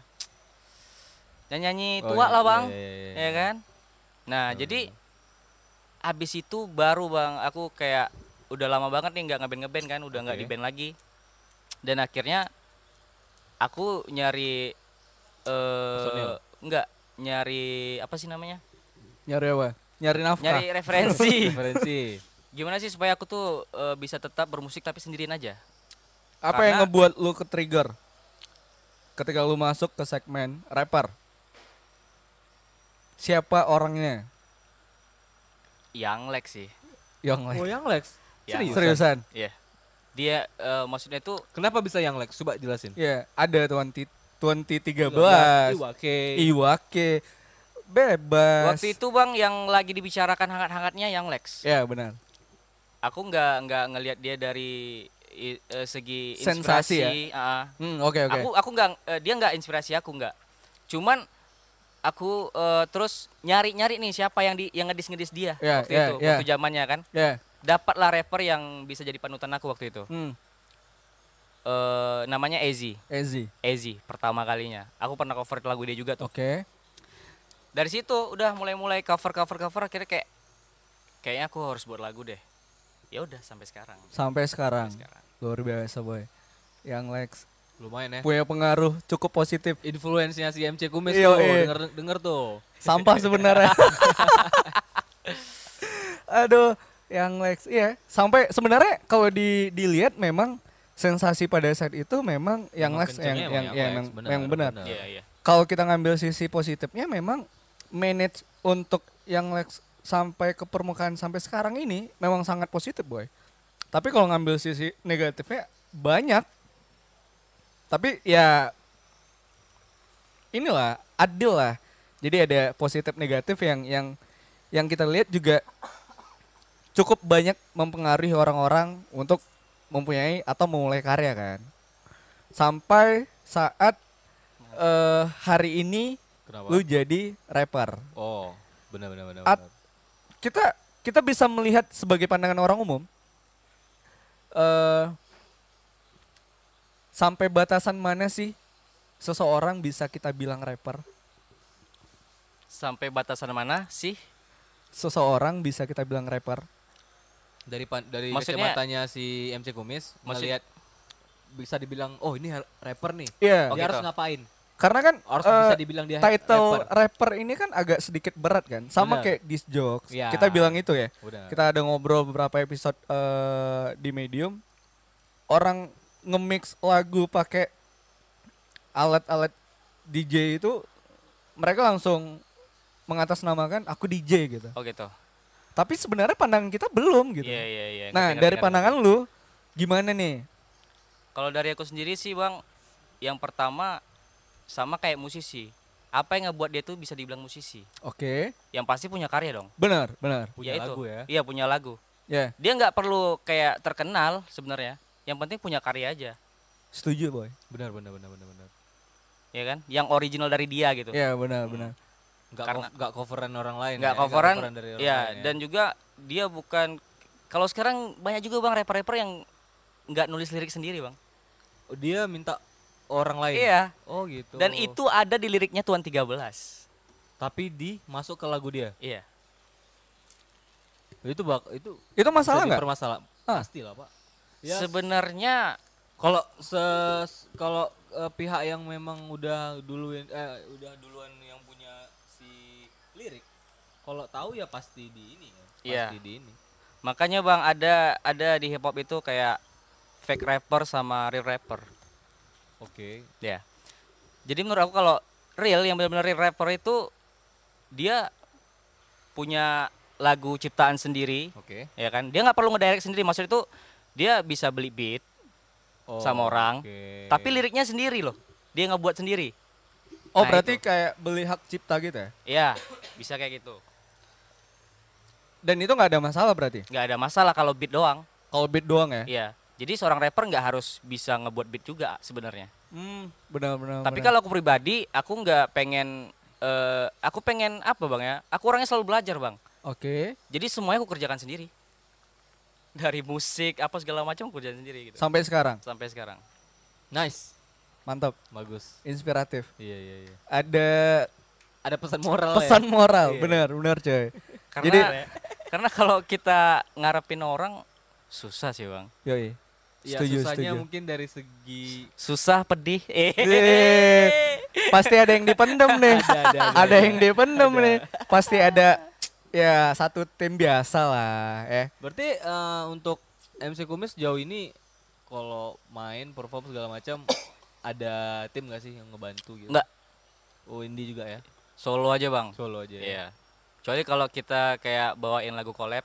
S3: Nyanyi-nyanyi
S1: Oh, iya,
S3: tua lah bang
S1: iya, iya, iya,
S3: ya
S1: iya.
S3: kan nah jadi abis itu baru bang aku kayak udah lama banget nih nggak ngeband ngeband kan udah nggak
S1: Oke.
S3: di band lagi dan akhirnya aku nyari
S1: Personil.
S3: eh nggak nyari apa sih namanya
S2: Nyari apa? Nyari nafkah.
S3: nyari referensi
S1: Referensi.
S3: gimana sih supaya aku tuh eh, bisa tetap bermusik tapi sendirian aja
S2: Apa yang
S3: Karena-
S2: ngebuat lu ke trigger? Ketika lu masuk ke segmen rapper. Siapa orangnya?
S3: yang lag sih
S2: Yang
S1: Oh iya,
S2: lain.
S1: yang Lex.
S3: Yang
S1: Serius.
S2: Seriusan.
S3: ya dia eh, maksudnya tuh
S1: Kenapa bisa yang Lex? Coba jelasin.
S2: Ya, ada tuan T 2013.
S1: Iya, Iwake.
S2: Iwake. Bebas.
S3: waktu itu bang yang lagi dibicarakan hangat-hangatnya yang Lex
S2: Ya, benar.
S3: aku nggak nggak ngelihat dia dari i- eh, segi
S2: Sensasi ya?
S3: inspirasi ah.
S2: Hmm, oke oke.
S3: aku aku nggak eh, dia nggak inspirasi aku nggak cuman aku eh, terus nyari nyari nih siapa yang di yang ngedis ngedis dia
S2: Ya,
S3: waktu
S2: ya,
S3: itu
S2: ya.
S3: waktu zamannya kan
S2: Ya.
S3: dapatlah rapper yang bisa jadi panutan aku waktu itu
S2: Hmm,
S3: Eh, namanya Ezi
S2: Ezi.
S3: Ezi pertama kalinya aku pernah cover lagu dia juga tuh
S2: Oke.
S3: dari situ udah mulai mulai cover cover cover akhirnya kayak kayaknya aku harus buat lagu deh ya udah sampai sekarang
S2: Sampai sekarang.
S3: sekarang.
S2: Luar biasa, boy. Yang Lex
S1: Lumayan ya.
S2: punya pengaruh cukup positif.
S1: Influensinya si MC Kumis
S2: Iya,
S1: tuh,
S2: iya.
S1: denger denger tuh.
S2: Sampah sebenarnya. Aduh, yang Lex iya, sampai sebenarnya kalau di dilihat memang sensasi pada saat itu memang yang
S1: Emang
S2: Lex yang
S1: kencengnya
S2: yang
S1: emang
S2: ya,
S1: yang
S2: yang,
S1: Lex,
S2: benar,
S1: benar,
S2: yang benar.
S1: benar.
S3: iya iya
S2: Kalau kita ngambil sisi positifnya memang manage untuk yang Lex sampai ke permukaan sampai sekarang ini memang sangat positif, boy. Tapi kalau ngambil sisi negatifnya banyak. Tapi ya inilah adil lah. Jadi ada positif negatif yang yang yang kita lihat juga cukup banyak mempengaruhi orang-orang untuk mempunyai atau memulai karya kan. Sampai saat eh, hari ini
S1: Kenapa?
S2: lu jadi rapper.
S1: Oh, benar benar benar.
S2: At-
S1: benar.
S2: Kita kita bisa melihat sebagai pandangan orang umum eh sampai batasan mana sih seseorang bisa kita bilang rapper?
S3: sampai batasan mana sih
S2: seseorang bisa kita bilang rapper.
S1: Dari pan- dari
S3: Maksudnya-
S1: kacamatanya si MC Kumis
S3: Maksud-
S1: melihat bisa dibilang oh ini har- rapper nih.
S2: Iya.
S1: Dia harus
S3: gitu.
S1: ngapain?
S2: Karena kan
S4: Harus
S2: eh,
S4: bisa dibilang dia
S2: title
S4: rapper.
S2: rapper. ini kan agak sedikit berat kan. Sama
S4: Benar.
S2: kayak disc jokes.
S4: Ya.
S2: Kita bilang itu ya.
S1: Udah.
S2: Kita ada ngobrol beberapa episode eh, di Medium. Orang nge-mix lagu pakai alat-alat DJ itu mereka langsung mengatasnamakan aku DJ gitu.
S3: Oh gitu.
S2: Tapi sebenarnya pandangan kita belum gitu.
S3: Iya iya iya.
S2: Nah,
S3: Ngerti, ngerti,
S2: dari
S3: ngerti.
S2: pandangan lu gimana nih?
S3: Kalau dari aku sendiri sih bang, yang pertama sama kayak musisi. Apa yang ngebuat dia tuh bisa dibilang musisi?
S2: Oke.
S3: Yang pasti punya karya dong.
S2: Benar, benar.
S1: Punya
S3: Ya itu.
S1: lagu ya.
S3: Iya punya lagu.
S2: Ya,
S3: Dia nggak perlu kayak terkenal sebenarnya. Yang penting punya karya aja,
S2: setuju, Boy.
S1: Benar benar benar benar benar.
S3: ya kan? Yang original dari dia gitu.
S2: Ya, benar, benar.
S1: Enggak
S3: Karena-
S1: enggak coveran orang lain
S3: Nggak
S1: ya,
S3: coveran,
S1: dari orang
S3: Ya,
S1: lain ya.
S3: dan juga dia bukan kalau sekarang banyak juga bang rapper-rapper yang nggak nulis lirik sendiri bang.
S1: Oh, dia minta orang lain.
S3: Iya.
S1: Oh gitu.
S3: Dan itu ada di liriknya Tuan 13.
S1: tapi di masuk ke lagu dia.
S3: Iya.
S1: Itu bak itu
S2: Itu masalah nggak?
S1: Permasalah.
S2: Ah.
S1: Pasti lah, Pak. Ya,
S3: Sebenarnya
S1: kalau se kalau eh, pihak yang memang udah duluan eh udah duluan yang punya si lirik kalau tahu ya pasti di ini ya. Pasti
S3: Iya.
S1: di ini.
S3: makanya bang ada ada di hip hop itu kayak fake rapper sama real rapper.
S1: Oke.
S3: Ya. Jadi menurut aku kalau real yang benar-benar real rapper itu dia punya lagu ciptaan sendiri,
S1: Oke.
S3: ya kan? Dia nggak perlu ngedirect sendiri. Maksudnya itu dia bisa beli beat,
S1: Oh,
S3: Sama orang,
S1: oke.
S3: tapi liriknya sendiri loh. Dia ngebuat sendiri.
S2: Oh,
S3: Nah,
S2: berarti
S3: itu.
S2: kayak beli hak cipta gitu ya?
S3: Ya, bisa kayak gitu.
S2: Dan itu nggak ada masalah berarti?
S3: Nggak ada masalah kalau beat doang.
S2: Kalau beat doang
S1: Eh?
S2: ya?
S3: Iya. Jadi seorang rapper nggak harus bisa ngebuat beat juga sebenarnya.
S2: Hmm, benar,
S1: Oh,
S2: benar.
S1: eh.
S3: Tapi
S2: benar.
S3: kalau aku pribadi, aku nggak pengen. eh, aku pengen apa bang ya? Aku orangnya selalu belajar bang.
S2: Oke.
S3: Jadi semuanya aku kerjakan sendiri. Dari musik apa segala macam aku kerjain sendiri gitu.
S2: Sampai sekarang,
S3: Sampai sekarang.
S1: nice.
S2: mantap,
S1: Bagus.
S2: inspiratif.
S1: Iya iya iya.
S2: Ada
S1: Ada pesan moral
S2: pesan
S1: ya.
S2: moral,
S1: Iya.
S2: benar, benar coy.
S3: Karena
S2: Jadi,
S3: karena kalau kita ngarepin orang susah sih bang.
S2: yoi.
S1: Ya,
S2: Setuju,
S1: susahnya
S2: setuju.
S1: mungkin dari segi
S3: Susah pedih.
S1: Iya.
S2: Eh, pasti ada yang dipendem nih. ada, yang dipendem nih. Pasti ada ya satu tim biasa lah, ya.
S1: Berarti eh, untuk MC Kumis sejauh ini kalau main perform segala macam ada tim gak sih yang ngebantu gitu?
S3: Nggak.
S1: Oh, indie juga ya.
S3: Solo aja bang.
S1: Solo aja ya.
S3: Iya. Kecuali kalau kita kayak bawain lagu collab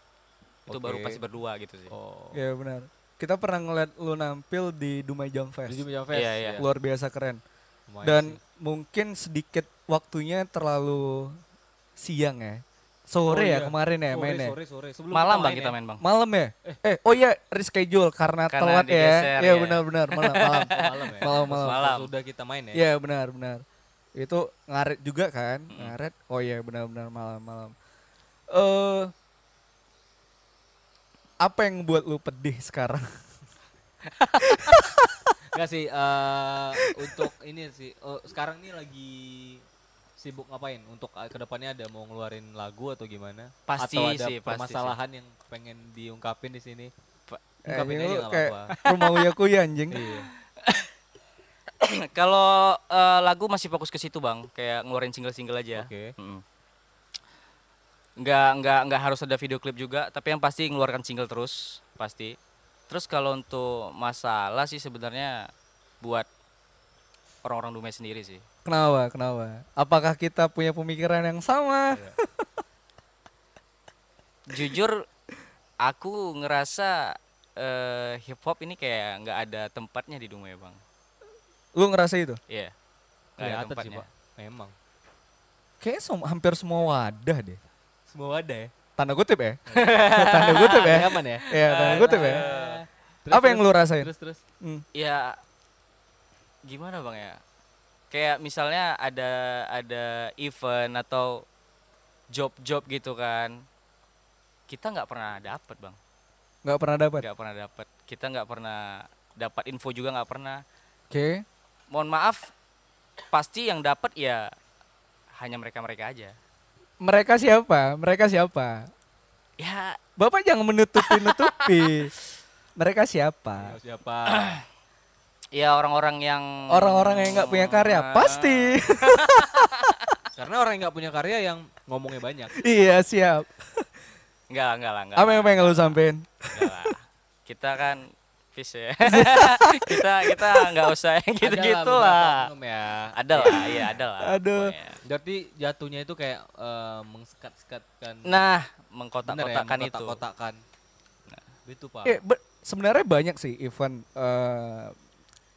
S3: itu
S1: Oke.
S3: baru pasti berdua gitu sih.
S1: Oh.
S2: Ya benar. Kita pernah ngeliat lu nampil di Dumai Jam Fest.
S1: Menuju Jam Fest.
S3: Iya, iya.
S1: ya.
S2: Luar biasa keren.
S1: Lumayan
S2: Dan
S1: sih.
S2: mungkin sedikit waktunya terlalu siang ya. Sore
S1: Oh,
S2: ya
S1: iya.
S2: kemarin
S1: Sore,
S2: ya mainnya.
S1: Sore, sore, Sebelum
S3: Malam bang
S1: main
S3: kita
S1: ya.
S3: main bang.
S2: Malam ya? Eh, oh iya reschedule karena,
S3: Karena
S2: telat ya.
S3: digeser,
S2: Iya
S3: ya.
S2: benar-benar malam malam.
S1: Oh, malam ya.
S2: Malam, malam.
S1: Malam. Sudah kita main ya.
S2: Iya benar-benar. Itu ngaret juga kan? Ngaret. Oh iya benar-benar malam-malam. Eh apa yang buat lu pedih sekarang?
S1: Enggak sih eh, untuk ini sih eh, sekarang ini lagi sibuk ngapain? Untuk eh, kedepannya ada mau ngeluarin lagu atau gimana?
S3: Pasti
S1: atau ada
S3: sih, pasti
S1: permasalahan yang pengen diungkapin di sini?
S3: Pa-
S1: Ungkapin
S2: Eh,
S1: aja
S2: lu
S1: nggak
S2: kayak
S1: apa-apa.
S2: rumah uya kuya anjing.
S1: Iya.
S3: kalau eh, lagu masih fokus ke situ bang, kayak ngeluarin single-single aja.
S1: Oke.
S3: Mm. Nggak nggak nggak harus ada video klip juga, tapi yang pasti ngeluarkan single terus pasti. Terus kalau untuk masalah sih sebenarnya buat orang-orang Dumai sendiri sih.
S2: Kenapa? Kenapa? Apakah kita punya pemikiran yang sama?
S3: Jujur aku ngerasa eh, hip hop ini kayak nggak ada tempatnya di Dumai bang.
S2: Lu ngerasa itu?
S3: Iya. Nggak ada
S1: Kelihatan sih,
S3: tempatnya.
S1: Pak. Memang.
S2: Kayaknya sem- hampir semua wadah deh.
S1: Semua ada ya.
S2: Tanda kutip ya. tanda kutip ya.
S1: Nyaman ya.
S2: Iya, tanda kutip ya. Apa yang lu rasain?
S1: Terus terus.
S2: Hmm.
S3: ya gimana bang ya kayak misalnya ada ada event atau job-job gitu kan kita nggak pernah dapat bang
S2: Nggak pernah dapat. Oke.
S3: nggak pernah dapat kita nggak pernah dapat info juga nggak pernah mohon maaf pasti yang dapat ya hanya mereka mereka aja
S2: Mereka siapa? Mereka siapa?
S3: ya
S2: Ah. Hmm. Bapak jangan menutupi-nutupi. Mereka siapa?
S1: Siapa?
S3: ya orang-orang yang
S2: Orang-orang yang nggak punya karya pasti.
S1: Karena orang yang nggak punya karya yang ngomongnya banyak.
S2: iya siap.
S3: Enggak, enggak lah,
S1: Ah,
S3: enggak.
S2: Apa
S3: lah,
S2: yang pengen lu sampein?
S3: enggak lah. Kita kan peace ya. kita kita enggak usah yang gitu-gitu
S1: Ada beberapa
S3: lah.
S1: oknum ya.
S3: Ada lah, iya ada lah.
S2: Aduh.
S3: pokoknya.
S1: Jadi jatuhnya itu kayak eh, mengsekat-sekatkan.
S3: Nah,
S1: Bener ya,
S3: mengkotak-kotakkan itu. Nah. Iya.
S1: mengkotak-kotakkan. Itu pak.
S2: Eh, be- sebenarnya banyak sih event eh,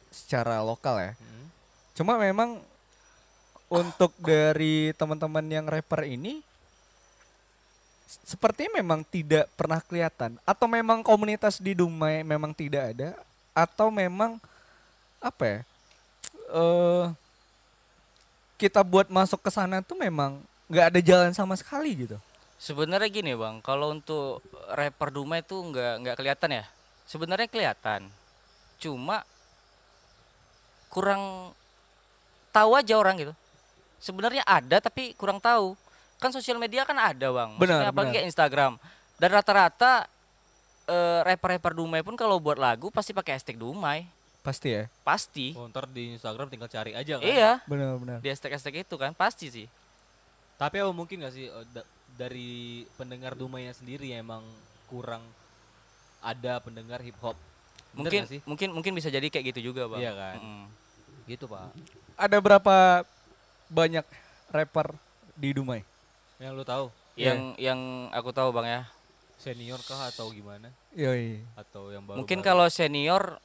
S2: secara lokal ya.
S1: Hmm.
S2: Cuma memang untuk dari teman-teman yang rapper ini s- sepertinya memang tidak pernah kelihatan atau memang komunitas di Dumai memang tidak ada atau memang apa ya? eh, kita buat masuk ke sana tuh memang nggak ada jalan sama sekali gitu.
S3: Sebenarnya gini bang, kalau untuk rapper Dumai itu nggak nggak kelihatan ya. Sebenarnya kelihatan, cuma kurang tahu aja orang gitu. Sebenarnya ada tapi kurang tahu. Kan sosial media kan ada bang, Maksudnya
S2: Benar,
S3: apalagi
S2: benar.
S3: kayak Instagram. Dan rata-rata eh, rapper-rapper Dumai pun kalau buat lagu pasti pakai hashtag Dumai,
S2: Pasti ya.
S3: pasti.
S1: Oh, ntar di Instagram tinggal cari aja kan.
S3: Iya,
S2: Benar-benar.
S3: di hashtag-hashtag itu kan pasti sih.
S1: Tapi apa mungkin gak sih eh, da- dari pendengar Dumainya sendiri ya emang kurang ada pendengar hip hop. Bener
S3: Mungkin
S1: nggak sih?
S3: mungkin mungkin bisa jadi kayak gitu juga bang.
S1: Iya kan?
S3: Mm-mm.
S1: Gitu, Pak.
S2: Ada berapa banyak rapper di Dumai?
S1: Yang lu tahu
S2: Iya.
S3: Yang yang aku tahu bang ya.
S1: senior kah atau gimana?
S2: Yoi.
S1: Atau yang baru?
S3: Mungkin kalau senior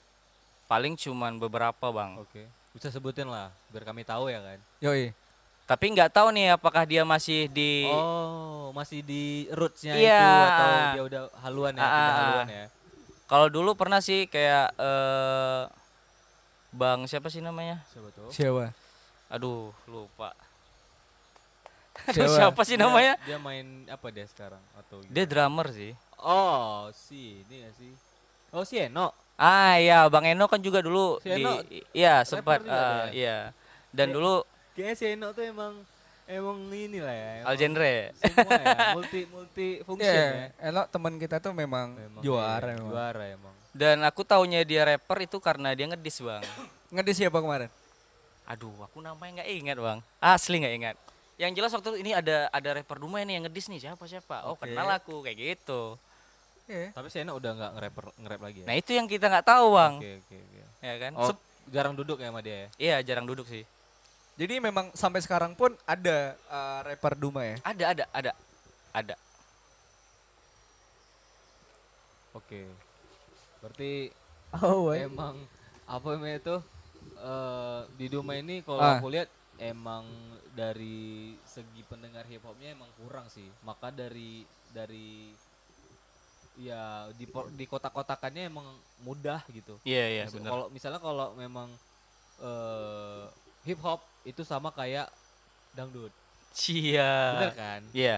S3: paling cuman beberapa bang.
S1: Oke. Bisa sebutin lah biar kami tahu ya kan.
S2: Yoi.
S3: Tapi nggak tahu nih apakah dia masih di
S1: Oh, masih di rootsnya itu
S3: Iya.
S1: atau dia udah haluan ya,
S3: Ah,
S1: pindah
S3: ah, ah.
S1: haluan ya.
S3: kalau dulu pernah sih kayak eh bang siapa sih namanya?
S1: Siapa tahu.
S2: Siapa?
S3: Aduh lupa. Aduh, siapa sih
S1: Dia-
S3: namanya?
S1: Dia main apa dia sekarang atau gimana?
S3: Dia drummer sih.
S1: Oh, si ini ya sih. Oh, si Eno.
S3: Ah iya bang Eno kan juga dulu
S1: Si Eno
S3: di iya sempat
S1: juga
S3: eh,
S1: dia.
S3: iya dan dulu
S1: Kayaknya si Eno tuh emang emang ini lah ya. emang
S3: al genre.
S1: Semua ya, multi multi function
S2: Iya,
S1: ya.
S2: elok teman kita tuh memang,
S1: Memang,
S2: juara
S1: iya,
S2: memang.
S1: Juara emang.
S3: Dan aku taunya dia rapper itu karena dia ngedis bang.
S2: Ngedis siapa kemarin?
S3: Aduh, aku namanya nggak ingat bang. Asli nggak ingat. Yang jelas waktu itu ini ada ada rapper Dumai nih yang ngedis nih siapa siapa. Oh
S2: Oke.
S3: kenal aku kayak gitu.
S2: Iya.
S1: Tapi si Eno udah nggak nge-rap nge-rap lagi ya.
S3: Nah itu yang kita nggak tahu bang.
S1: Oke, oke, oke.
S3: Ya kan.
S1: Oh,
S3: Sep-
S1: jarang duduk ya sama dia ya.
S3: Iya jarang duduk sih.
S2: Jadi memang sampai sekarang pun ada eh, rapper Duma ya.
S3: Ada ada ada ada.
S1: Oke. Berarti
S2: Oh,
S1: emang apa namanya itu eh, di Duma ini kalau
S2: Ah.
S1: aku lihat emang dari segi pendengar hip hopnya emang kurang sih maka dari dari ya di po- di kotak-kotakannya emang mudah gitu
S3: Iya iya
S1: Misal-
S3: benar.
S1: kalau misalnya kalau memang eh, hip hop itu sama kayak dangdut
S3: Cia.
S1: bener kan
S3: Iya.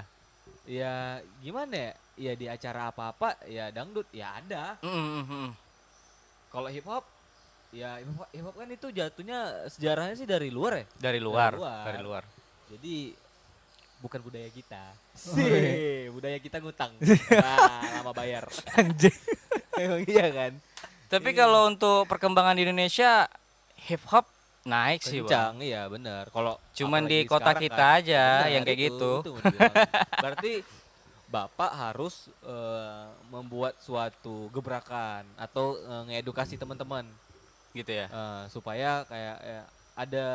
S1: ya gimana ya ya di acara apa apa ya dangdut ya ada
S3: Mm, mm, mm, mm.
S1: kalau hip hop ya hip hop, hip hop kan itu jatuhnya sejarahnya sih dari luar ya
S3: Dari luar.
S1: luar.
S3: Dari luar.
S1: jadi bukan budaya kita
S2: Sih.
S1: sih budaya kita ngutang nah, lama bayar
S2: Anjing.
S1: emang iya kan
S3: Tapi kalau untuk perkembangan di Indonesia hip hop naik sih bang.
S1: kencang iya benar kalau
S3: Cuman
S1: apalagi
S3: di kota
S1: sekarang
S3: kita
S1: kan.
S3: aja
S1: Benar,
S3: yang kayak
S1: itu-
S3: gitu.
S1: itu mau dibilang. berarti bapak harus eh, membuat suatu gebrakan atau eh, ngedukasi teman-teman
S3: Gitu ya.
S1: Eh, supaya kayak ya, ada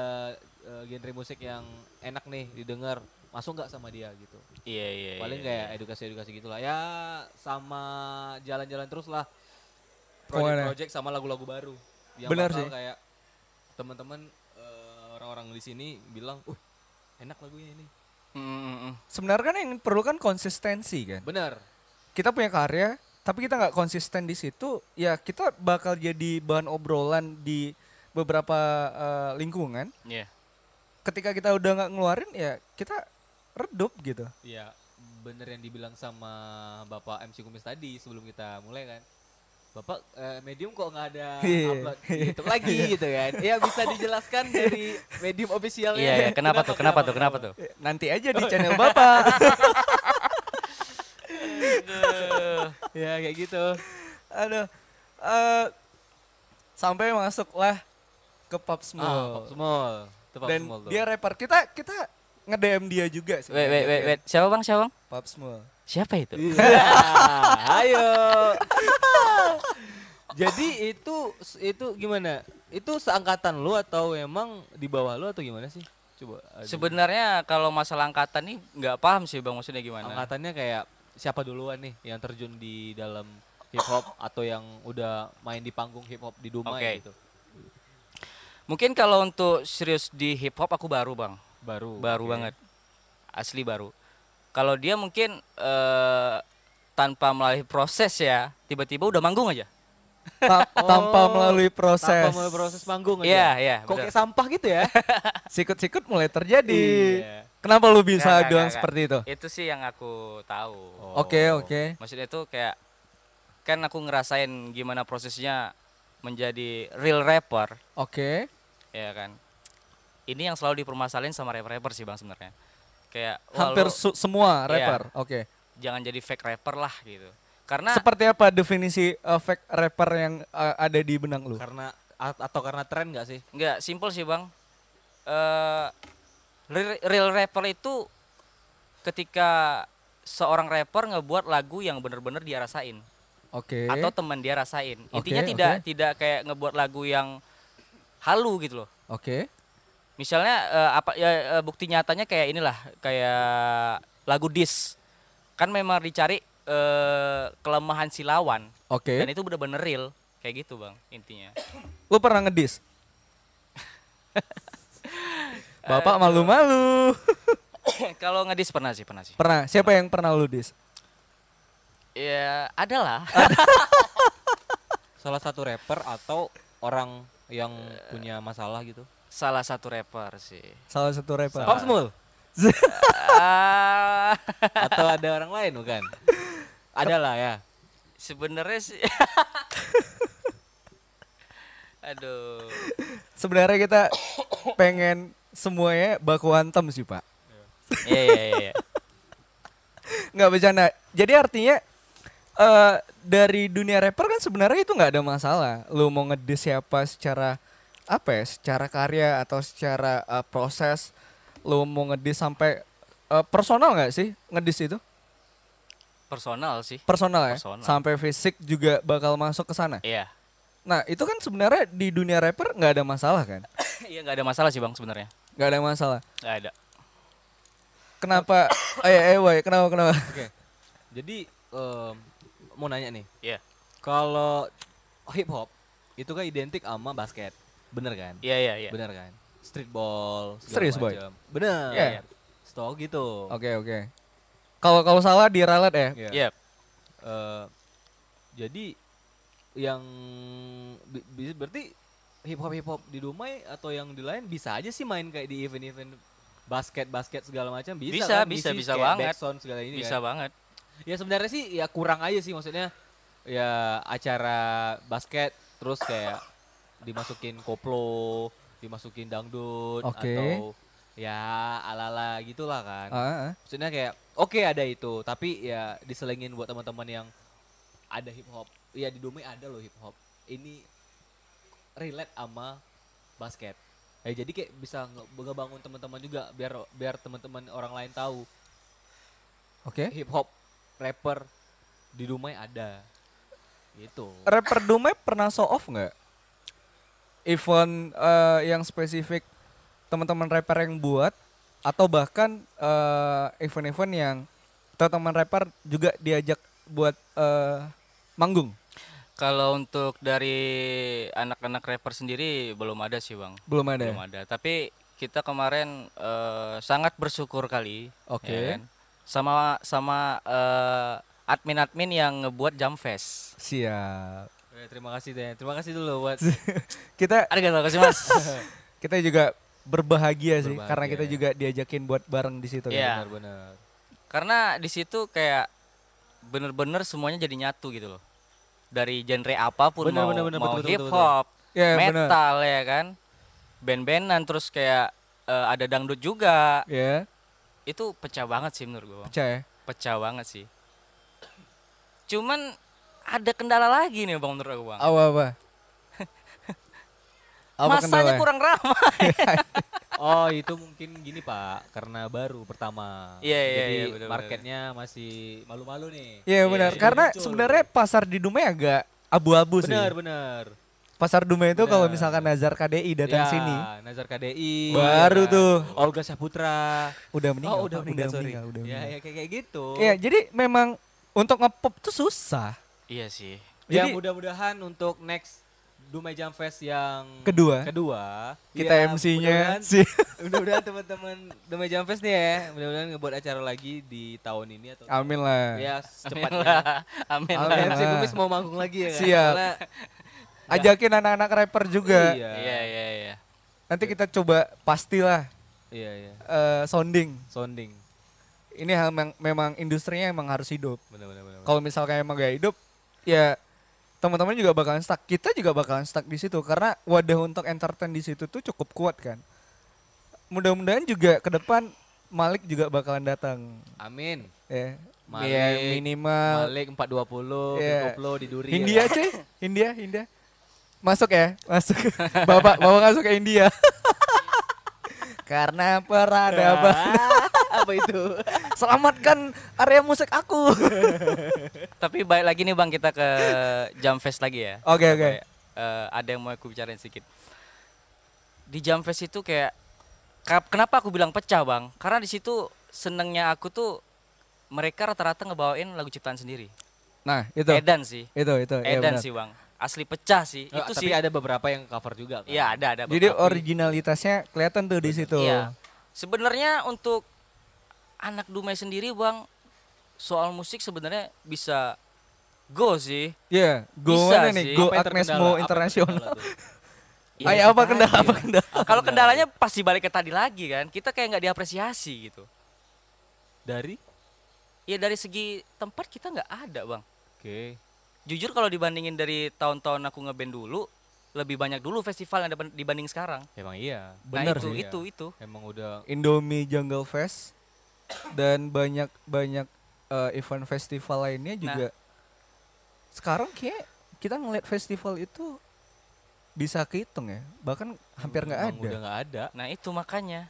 S1: eh, genre musik yang enak nih didengar masuk nggak sama dia gitu
S3: Iya iya.
S1: paling
S3: iya,
S1: kayak
S3: iya.
S1: edukasi-edukasi gitulah ya sama jalan-jalan terus lah
S2: Kemana?
S1: project-project sama lagu-lagu baru yang
S2: Benar
S1: bakal
S2: sih.
S1: kayak teman-teman eh, orang-orang di sini bilang uh enak lagunya ini
S3: Mm, mm, mm.
S2: Sebenarnya kan yang perlu kan konsistensi kan.
S1: benar
S2: Kita punya karya, tapi kita nggak konsisten di situ, ya kita bakal jadi bahan obrolan di beberapa eh, lingkungan.
S3: Iya.
S2: Ketika kita udah nggak ngeluarin, ya kita redup gitu.
S1: ya bener yang dibilang sama bapak MC Kumis tadi sebelum kita mulai kan bapak eh, medium kok nggak ada
S2: Iya.
S1: upload di YouTube lagi gitu kan ya bisa dijelaskan dari medium officialnya
S3: Iya iya. Kenapa tuh? Kenapa tuh? Kenapa tuh?
S2: Eh, Nanti aja
S3: Oh, iya.
S2: di channel bapak.
S3: Aduh.
S1: ya kayak gitu
S2: Aduh. eh sampai masuklah ke Pop
S3: Oh.
S2: Small.
S1: Ah, Pop Small. Itu Pop
S2: Dan
S1: Small tuh.
S2: dia rapper kita kita nge-DM dia juga sih.
S3: Wait, wait, wait, wait. Siapa bang? Siapa bang?
S2: Pop Small.
S3: Siapa itu?
S1: Iya. Ayo. Jadi itu itu gimana? Itu seangkatan lu atau emang di bawah lu atau gimana sih? Coba. eh, aja.
S3: Sebenarnya kalau masalah angkatan nih nggak paham sih bang maksudnya gimana.
S1: Angkatannya kayak siapa duluan nih yang terjun di dalam hip hop atau yang udah main di panggung hip hop di Dumai
S3: Oke.
S1: gitu.
S3: Mungkin kalau untuk serius di hip hop aku baru bang,
S1: Baru.
S3: baru
S1: oke.
S3: banget, asli baru. Kalau dia mungkin eh, tanpa melalui proses ya, tiba-tiba udah manggung aja.
S2: Ta- tanpa
S1: Oh,
S2: melalui proses.
S1: Tanpa melalui proses panggung aja.
S3: Iya, iya,
S1: Kok
S3: benar.
S1: kayak sampah gitu ya?
S2: Sikut-sikut mulai terjadi.
S3: Iya.
S2: Kenapa lu bisa
S3: Nggak, nggak,
S2: doang
S3: nggak. Oh.
S2: seperti itu?
S3: Itu sih yang aku tahu.
S2: Oke, oke.
S3: Maksudnya itu kayak kan aku ngerasain gimana prosesnya menjadi real rapper,
S2: Oke.
S3: ya kan. Ini yang selalu dipermasalahin sama rapper-rapper sih bang sebenarnya. Kayak wah,
S2: Hampir
S3: lu
S2: su- semua
S3: Iya.
S2: rapper. Oke.
S3: jangan jadi fake rapper lah gitu. Karena
S2: Seperti apa definisi uh, fake rapper yang uh, ada di benang lu?
S1: Karena a- atau karena tren gak sih?
S3: nggak simpel sih bang. Eh, re- real rapper itu ketika seorang rapper ngebuat lagu yang bener-bener dia rasain.
S2: Oke.
S3: atau teman dia rasain. Intinya
S2: Oke,
S3: tidak
S2: oke.
S3: tidak kayak ngebuat lagu yang halu gitu loh.
S2: Oke.
S3: Misalnya eh, apa ya eh, bukti nyatanya kayak inilah kayak lagu dis. Kan memang dicari eh, kelemahan si lawan
S2: Oke.
S3: dan itu bener-bener real kayak gitu, Bang, intinya.
S2: Lu pernah ngedis? Bapak malu-malu.
S3: Kalau ngedis pernah sih, pernah sih.
S2: pernah. Siapa yang pernah lu dis?
S3: Ya, adalah
S1: Salah satu rapper atau orang yang punya masalah gitu?
S3: salah satu rapper sih.
S2: Salah satu rapper.
S1: Pop Smul?
S3: Ah,
S1: atau ada orang lain bukan? Ada lah ya.
S3: sebenarnya sih Aduh.
S2: Sebenarnya kita pengen semuanya baku hantam sih, Pak.
S3: Iya, iya, iya, iya.
S2: nggak bercanda. Jadi artinya eh dari dunia rapper kan sebenarnya itu nggak ada masalah. Lu mau ngedis siapa secara apa ya? Secara karya atau secara eh, proses lu mau ngedis sampai eh, personal nggak sih ngedis itu?
S3: Personal sih.
S2: Personal ya.
S3: Personal.
S2: Sampai fisik juga bakal masuk ke sana.
S3: Iya.
S2: Nah, itu kan sebenarnya di dunia rapper nggak ada masalah kan?
S3: Iya nggak ada masalah sih bang sebenarnya.
S2: nggak ada masalah.
S3: Nggak ada.
S2: Kenapa? Eh, eh, woy, kenapa kenapa?
S1: Oke. Jadi em, mau nanya nih,
S3: Iya.
S1: kalau hip hop itu kan identik sama basket, bener kan?
S3: Iya iya iya.
S1: Bener kan? Streetball. segala
S2: Serius, Boy?
S1: macam. Bener.
S2: Iya.
S1: Stok gitu.
S2: Oke, oke. Kalau kalau salah diralat ya.
S1: Iya.
S3: Iya.
S1: Eh, jadi yang bi- bi- berarti hip hop hip hop di Dumai atau yang di lain bisa aja sih main kayak di event event basket basket segala macam bisa
S3: Bisa,
S1: kan?
S3: bisa,
S1: Ngisi
S3: bisa
S1: kayak
S3: banget.
S1: backsound segala ini
S3: Bisa
S1: kan?
S3: banget.
S1: ya sebenarnya sih ya kurang aja sih maksudnya ya acara basket terus kayak dimasukin koplo dimasukin dangdut
S2: Oke.
S1: atau ya ala-ala gitulah kan
S2: Ah, ah.
S1: maksudnya kayak oke ada itu tapi ya diselengin buat teman-teman yang ada hip hop ya di Dumai ada loh hip hop ini relate sama basket ya jadi kayak bisa nge- ngebangun teman-teman juga biar biar teman-teman orang lain tahu
S2: Oke.
S1: hip hop rapper di Dumai ada gitu
S2: rapper Dumai pernah show off nggak? Event eh, yang spesifik teman-teman rapper yang buat atau bahkan eh, event-event yang teman-teman rapper juga diajak buat eh, manggung
S3: Kalau untuk dari anak-anak rapper sendiri belum ada sih bang.
S2: belum ada. ya?
S3: Belum ada. Tapi kita kemarin eh, sangat bersyukur kali.
S2: Oke.
S3: ya kan? Sama sama eh, admin-admin yang ngebuat jam fest.
S2: Siap.
S1: Eh, terima kasih deh terima kasih dulu buat
S2: Kita
S3: Ada terima kasih mas.
S2: kita juga berbahagia, sih
S1: Berbahagia,
S2: karena kita
S1: ya.
S2: juga diajakin buat bareng di situ. ya.
S3: Iya.
S1: benar-benar
S3: Karena di situ kayak bener-bener semuanya jadi nyatu gitu loh. Dari genre apapun
S1: Bener,
S3: mau,
S1: bener, bener,
S3: mau
S1: betul, betul,
S3: hip
S1: betul.
S3: hop,
S2: Ya, bener.
S3: metal ya kan. Band-bandan terus kayak eh, ada dangdut juga.
S2: Ya,
S3: Itu pecah banget sih menurut gua. Bang.
S2: percaya.
S3: Pecah banget sih. Cuman ada kendala lagi nih Bang menurut aku Bang.
S2: Apa apa? Apa
S3: masanya
S2: kendalanya?
S3: kurang ramah
S1: Oh itu mungkin gini pak, karena baru pertama.
S3: Iya, iya,
S1: Jadi
S3: iya, betul,
S1: marketnya masih malu-malu nih.
S2: Iya
S3: Iya,
S2: benar.
S1: iya.
S2: Karena
S1: Muncul.
S2: sebenarnya pasar di Dumai agak abu-abu sih.
S1: Bener bener.
S2: Pasar Dumai itu kalau
S1: Benar.
S2: misalkan Nazar KDI
S1: Ya,
S2: datang sini,
S1: Nazar KDI.
S2: Baru
S1: ya.
S2: tuh.
S1: Olga Saputra.
S2: udah meninggal.
S1: oh udah
S2: Pak,
S1: meninggal, sorry.
S2: meninggal, udah
S1: ya,
S2: meninggal.
S1: ya kayak kayak gitu.
S2: Iya, jadi memang untuk ngepop tuh susah.
S1: Hmm.
S3: iya sih
S1: Ya,
S2: Jadi-
S1: mudah-mudahan untuk next Dumai Jam Fest yang
S2: Kedua.
S1: kedua
S2: Kita
S1: ya,
S2: MC-nya
S1: mudah-mudahan-
S2: sih.
S1: Mudah-mudahan teman-teman Dumai Jam Fest nih ya, mudah-mudahan ngebuat acara lagi di tahun ini atau
S2: Amin lah.
S1: ya
S3: amin
S1: secepatnya.
S3: lah amin
S2: Amin.
S3: lah
S1: Amin. MC
S2: lah.
S1: Kumis mau manggung lagi ya kan?
S2: Siap.
S1: Karena-
S2: Ajakin anak-anak rapper juga.
S1: Iya.
S3: iya iya iya
S2: Nanti kita coba pastilah
S1: Iya, iya.
S2: eh, sounding.
S1: Sounding.
S2: Ini hal memang, memang industrinya emang harus hidup.
S1: Benar benar benar.
S2: Kalau misalkan emang gak hidup, ya teman-teman juga bakalan stuck. Kita juga bakalan stuck di situ karena wadah untuk entertain di situ tuh cukup kuat kan. Mudah-mudahan juga ke depan Malik juga bakalan datang.
S1: Amin.
S2: Ya.
S1: Malik,
S2: Ya, minimal
S1: Malik 420,
S2: Iya.
S1: Koplo di Duri. ya
S2: India
S1: kan?
S2: cuy, India, India. Masuk ya, masuk. Bapak, bapak masuk ke India. Karena peradaban.
S1: Apa itu?
S2: Selamatkan area musik aku.
S3: tapi balik lagi nih bang kita ke jam fest lagi ya
S2: Oke, oke.
S3: Kayak, eh, ada yang mau aku bicarain sedikit di jam fest itu kayak ka- kenapa aku bilang pecah bang karena di situ senengnya aku tuh mereka rata-rata ngebawain lagu ciptaan sendiri
S2: Nah, itu.
S3: Edan sih
S2: Itu, itu. iya
S3: Edan
S2: benar.
S3: sih bang asli pecah sih
S1: Oh,
S3: itu
S1: tapi
S3: sih
S1: ada beberapa yang cover juga kan.
S3: Iya ada ada
S2: Jadi
S3: beberapa.
S2: originalitasnya kelihatan tuh di situ.
S3: Iya. Sebenarnya untuk anak Dumai sendiri Bang soal musik sebenarnya bisa go sih.
S2: Iya, go
S3: Bisa
S2: mana
S3: sih.
S2: nih? Go
S1: Apa yang
S2: Agnes
S1: terkendala? Apa
S2: Mo
S1: yang
S2: Internasional.
S1: terkendala tuh?
S3: Iya,
S2: Ay, apa kendala? Apa kendala?
S3: Kalau kendalanya pasti balik ke tadi lagi kan. Kita kayak nggak diapresiasi gitu.
S1: Dari?
S3: Ya dari segi tempat kita nggak ada Bang.
S1: Oke.
S3: Jujur kalau dibandingin dari tahun-tahun aku ngeband dulu lebih banyak dulu festival yang dapat dibanding sekarang.
S1: Emang iya.
S3: nah, itu,
S1: Iya.
S3: itu itu
S1: Emang udah
S2: Indomie Jungle Fest dan banyak banyak eh, event festival
S1: Nah.
S2: lainnya juga. Sekarang kayak kita ngeliat festival itu bisa kehitung ya, bahkan hampir nggak
S1: Hmm, emang
S2: ada.
S1: Udah nggak ada.
S3: Nah, itu makanya.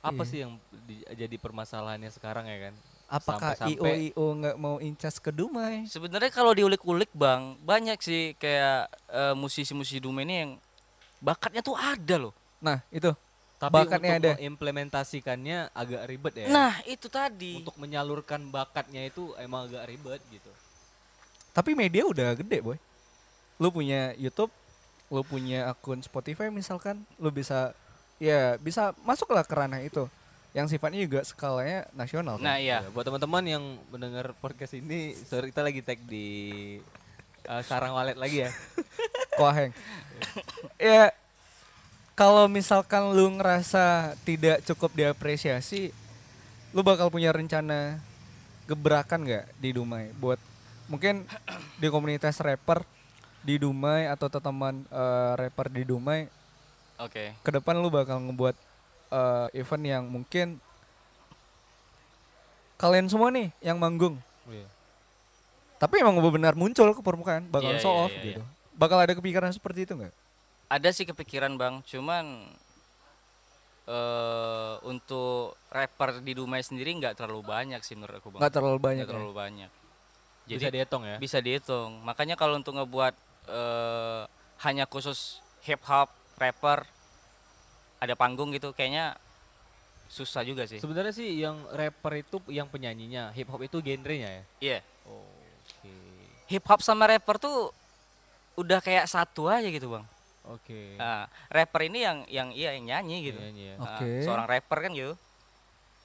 S1: Apa
S2: Iya.
S1: sih yang di- jadi permasalahannya sekarang ya kan?
S2: Apakah IO
S1: sampai-sampai-
S2: IO nggak mau incas ke Dumai?
S3: Sebenarnya kalau diulik-ulik bang, banyak sih kayak eh, musisi-musisi Dumai ini yang bakatnya tuh ada loh.
S2: Nah itu
S1: Tapi
S2: Bakatnya
S1: untuk
S2: ada.
S1: mengimplementasikannya agak ribet ya.
S3: Nah itu tadi.
S1: Untuk menyalurkan bakatnya itu emang agak ribet gitu.
S2: Tapi media udah gede boy. Lu punya YouTube, lu punya akun Spotify misalkan, lu bisa ya bisa masuklah ke ranah itu. Yang sifatnya juga skalanya nasional. kan?
S3: Nah iya.
S1: Ya, buat teman-teman yang mendengar podcast ini, sorry kita lagi tag di eh, sarang walet lagi ya.
S2: Koheng. ya kalau misalkan lu ngerasa tidak cukup diapresiasi, lu bakal punya rencana gebrakan nggak di Dumai buat mungkin di komunitas rapper di Dumai atau teman eh, rapper di Dumai
S3: Oke.
S2: ke depan lu bakal ngebuat eh, event yang mungkin kalian semua nih yang manggung
S3: Oh, iya.
S2: tapi emang benar muncul ke permukaan bakal
S3: Iya,
S2: show
S3: iya,
S2: off
S3: iya,
S2: gitu bakal ada kepikiran seperti itu nggak
S3: Ada sih kepikiran bang, cuman eh untuk rapper di Dumai sendiri nggak terlalu banyak sih menurut aku bang.
S2: nggak terlalu banyak ya?
S3: Nggak terlalu banyak. Jadi
S1: Bisa dihitung ya.
S3: bisa dihitung. Makanya kalau untuk ngebuat eh hanya khusus hip hop rapper ada panggung gitu kayaknya susah juga sih.
S1: Sebenarnya sih yang rapper itu yang penyanyinya, hip hop itu genrenya ya.
S3: Iya.
S1: Oke.
S3: Hip hop sama rapper tuh udah kayak satu aja gitu, Bang.
S1: Oke.
S3: Nah, rapper ini yang yang iya yang nyanyi gitu.
S1: Penyanyi ya.
S2: Oh.
S3: Nah,
S2: Oke.
S3: seorang rapper kan gitu.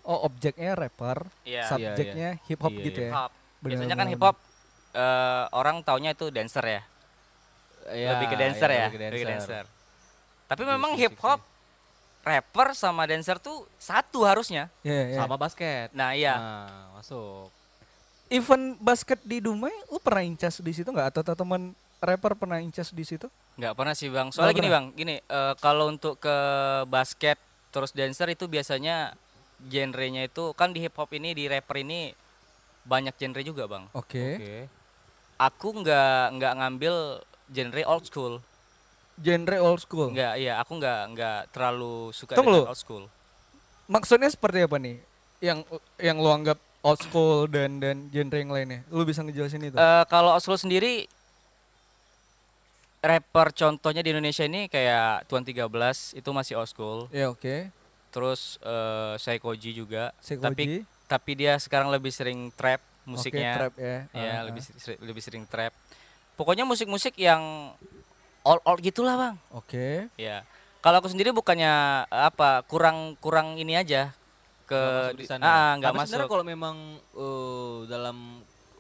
S2: oh objeknya rapper
S3: Iya.
S1: Sat-
S2: subjeknya hip hop
S1: Iya,
S2: gitu
S1: iya.
S2: ya
S3: Hip hop.
S2: Benar,
S3: Biasanya kan
S2: benar,
S3: hip hop eh, orang taunya itu dancer ya.
S1: Ya,
S3: lebih ke dancer ya.
S1: lebih ke dancer. Iya
S3: Tapi
S1: Di
S3: memang
S1: sisi
S3: hip hop rapper sama dancer tuh satu harusnya.
S2: Iya, iya.
S1: Sama basket.
S3: Nah, iya.
S1: Nah, masuk.
S2: event basket di Dumai lu pernah incas di situ nggak atau teman rapper pernah incas di situ
S3: nggak pernah sih, Bang. Soalnya
S2: Nggak
S3: gini, Bang. Gini, eh, kalau untuk ke basket terus dancer itu biasanya genrenya itu kan di hip hop ini di rapper ini banyak genre juga, Bang.
S2: oke
S1: Oke.
S3: aku nggak nggak ngambil genre old school
S2: genre old school.
S3: Enggak, iya aku enggak enggak terlalu suka
S2: Oh. Tunggu
S3: dengan
S2: lu.
S3: old school.
S2: Maksudnya seperti apa nih? Yang yang lu anggap old school dan dan genre yang lainnya. Lu bisa ngejelasin itu?
S3: Eh, kalau old school sendiri rapper contohnya di Indonesia ini kayak Tuan 13 itu masih old school.
S2: ya oke.
S3: Terus eh Saikoji juga. Tapi
S2: Psikologi.
S3: tapi dia sekarang lebih sering trap
S2: Oke,
S3: musiknya.
S2: trap ya. Ah,
S3: Ya, lebih
S2: ah.
S3: seri- lebih sering trap. Pokoknya musik-musik yang old old gitulah, Bang.
S2: Oke.
S3: Ya. Kalau aku sendiri bukannya eh, apa kurang kurang ini aja ke
S1: masuk di
S3: di-
S1: sana. ya?
S3: ah, nggak
S1: Tapi sebenarnya
S3: masuk.
S1: kalau memang eh, dalam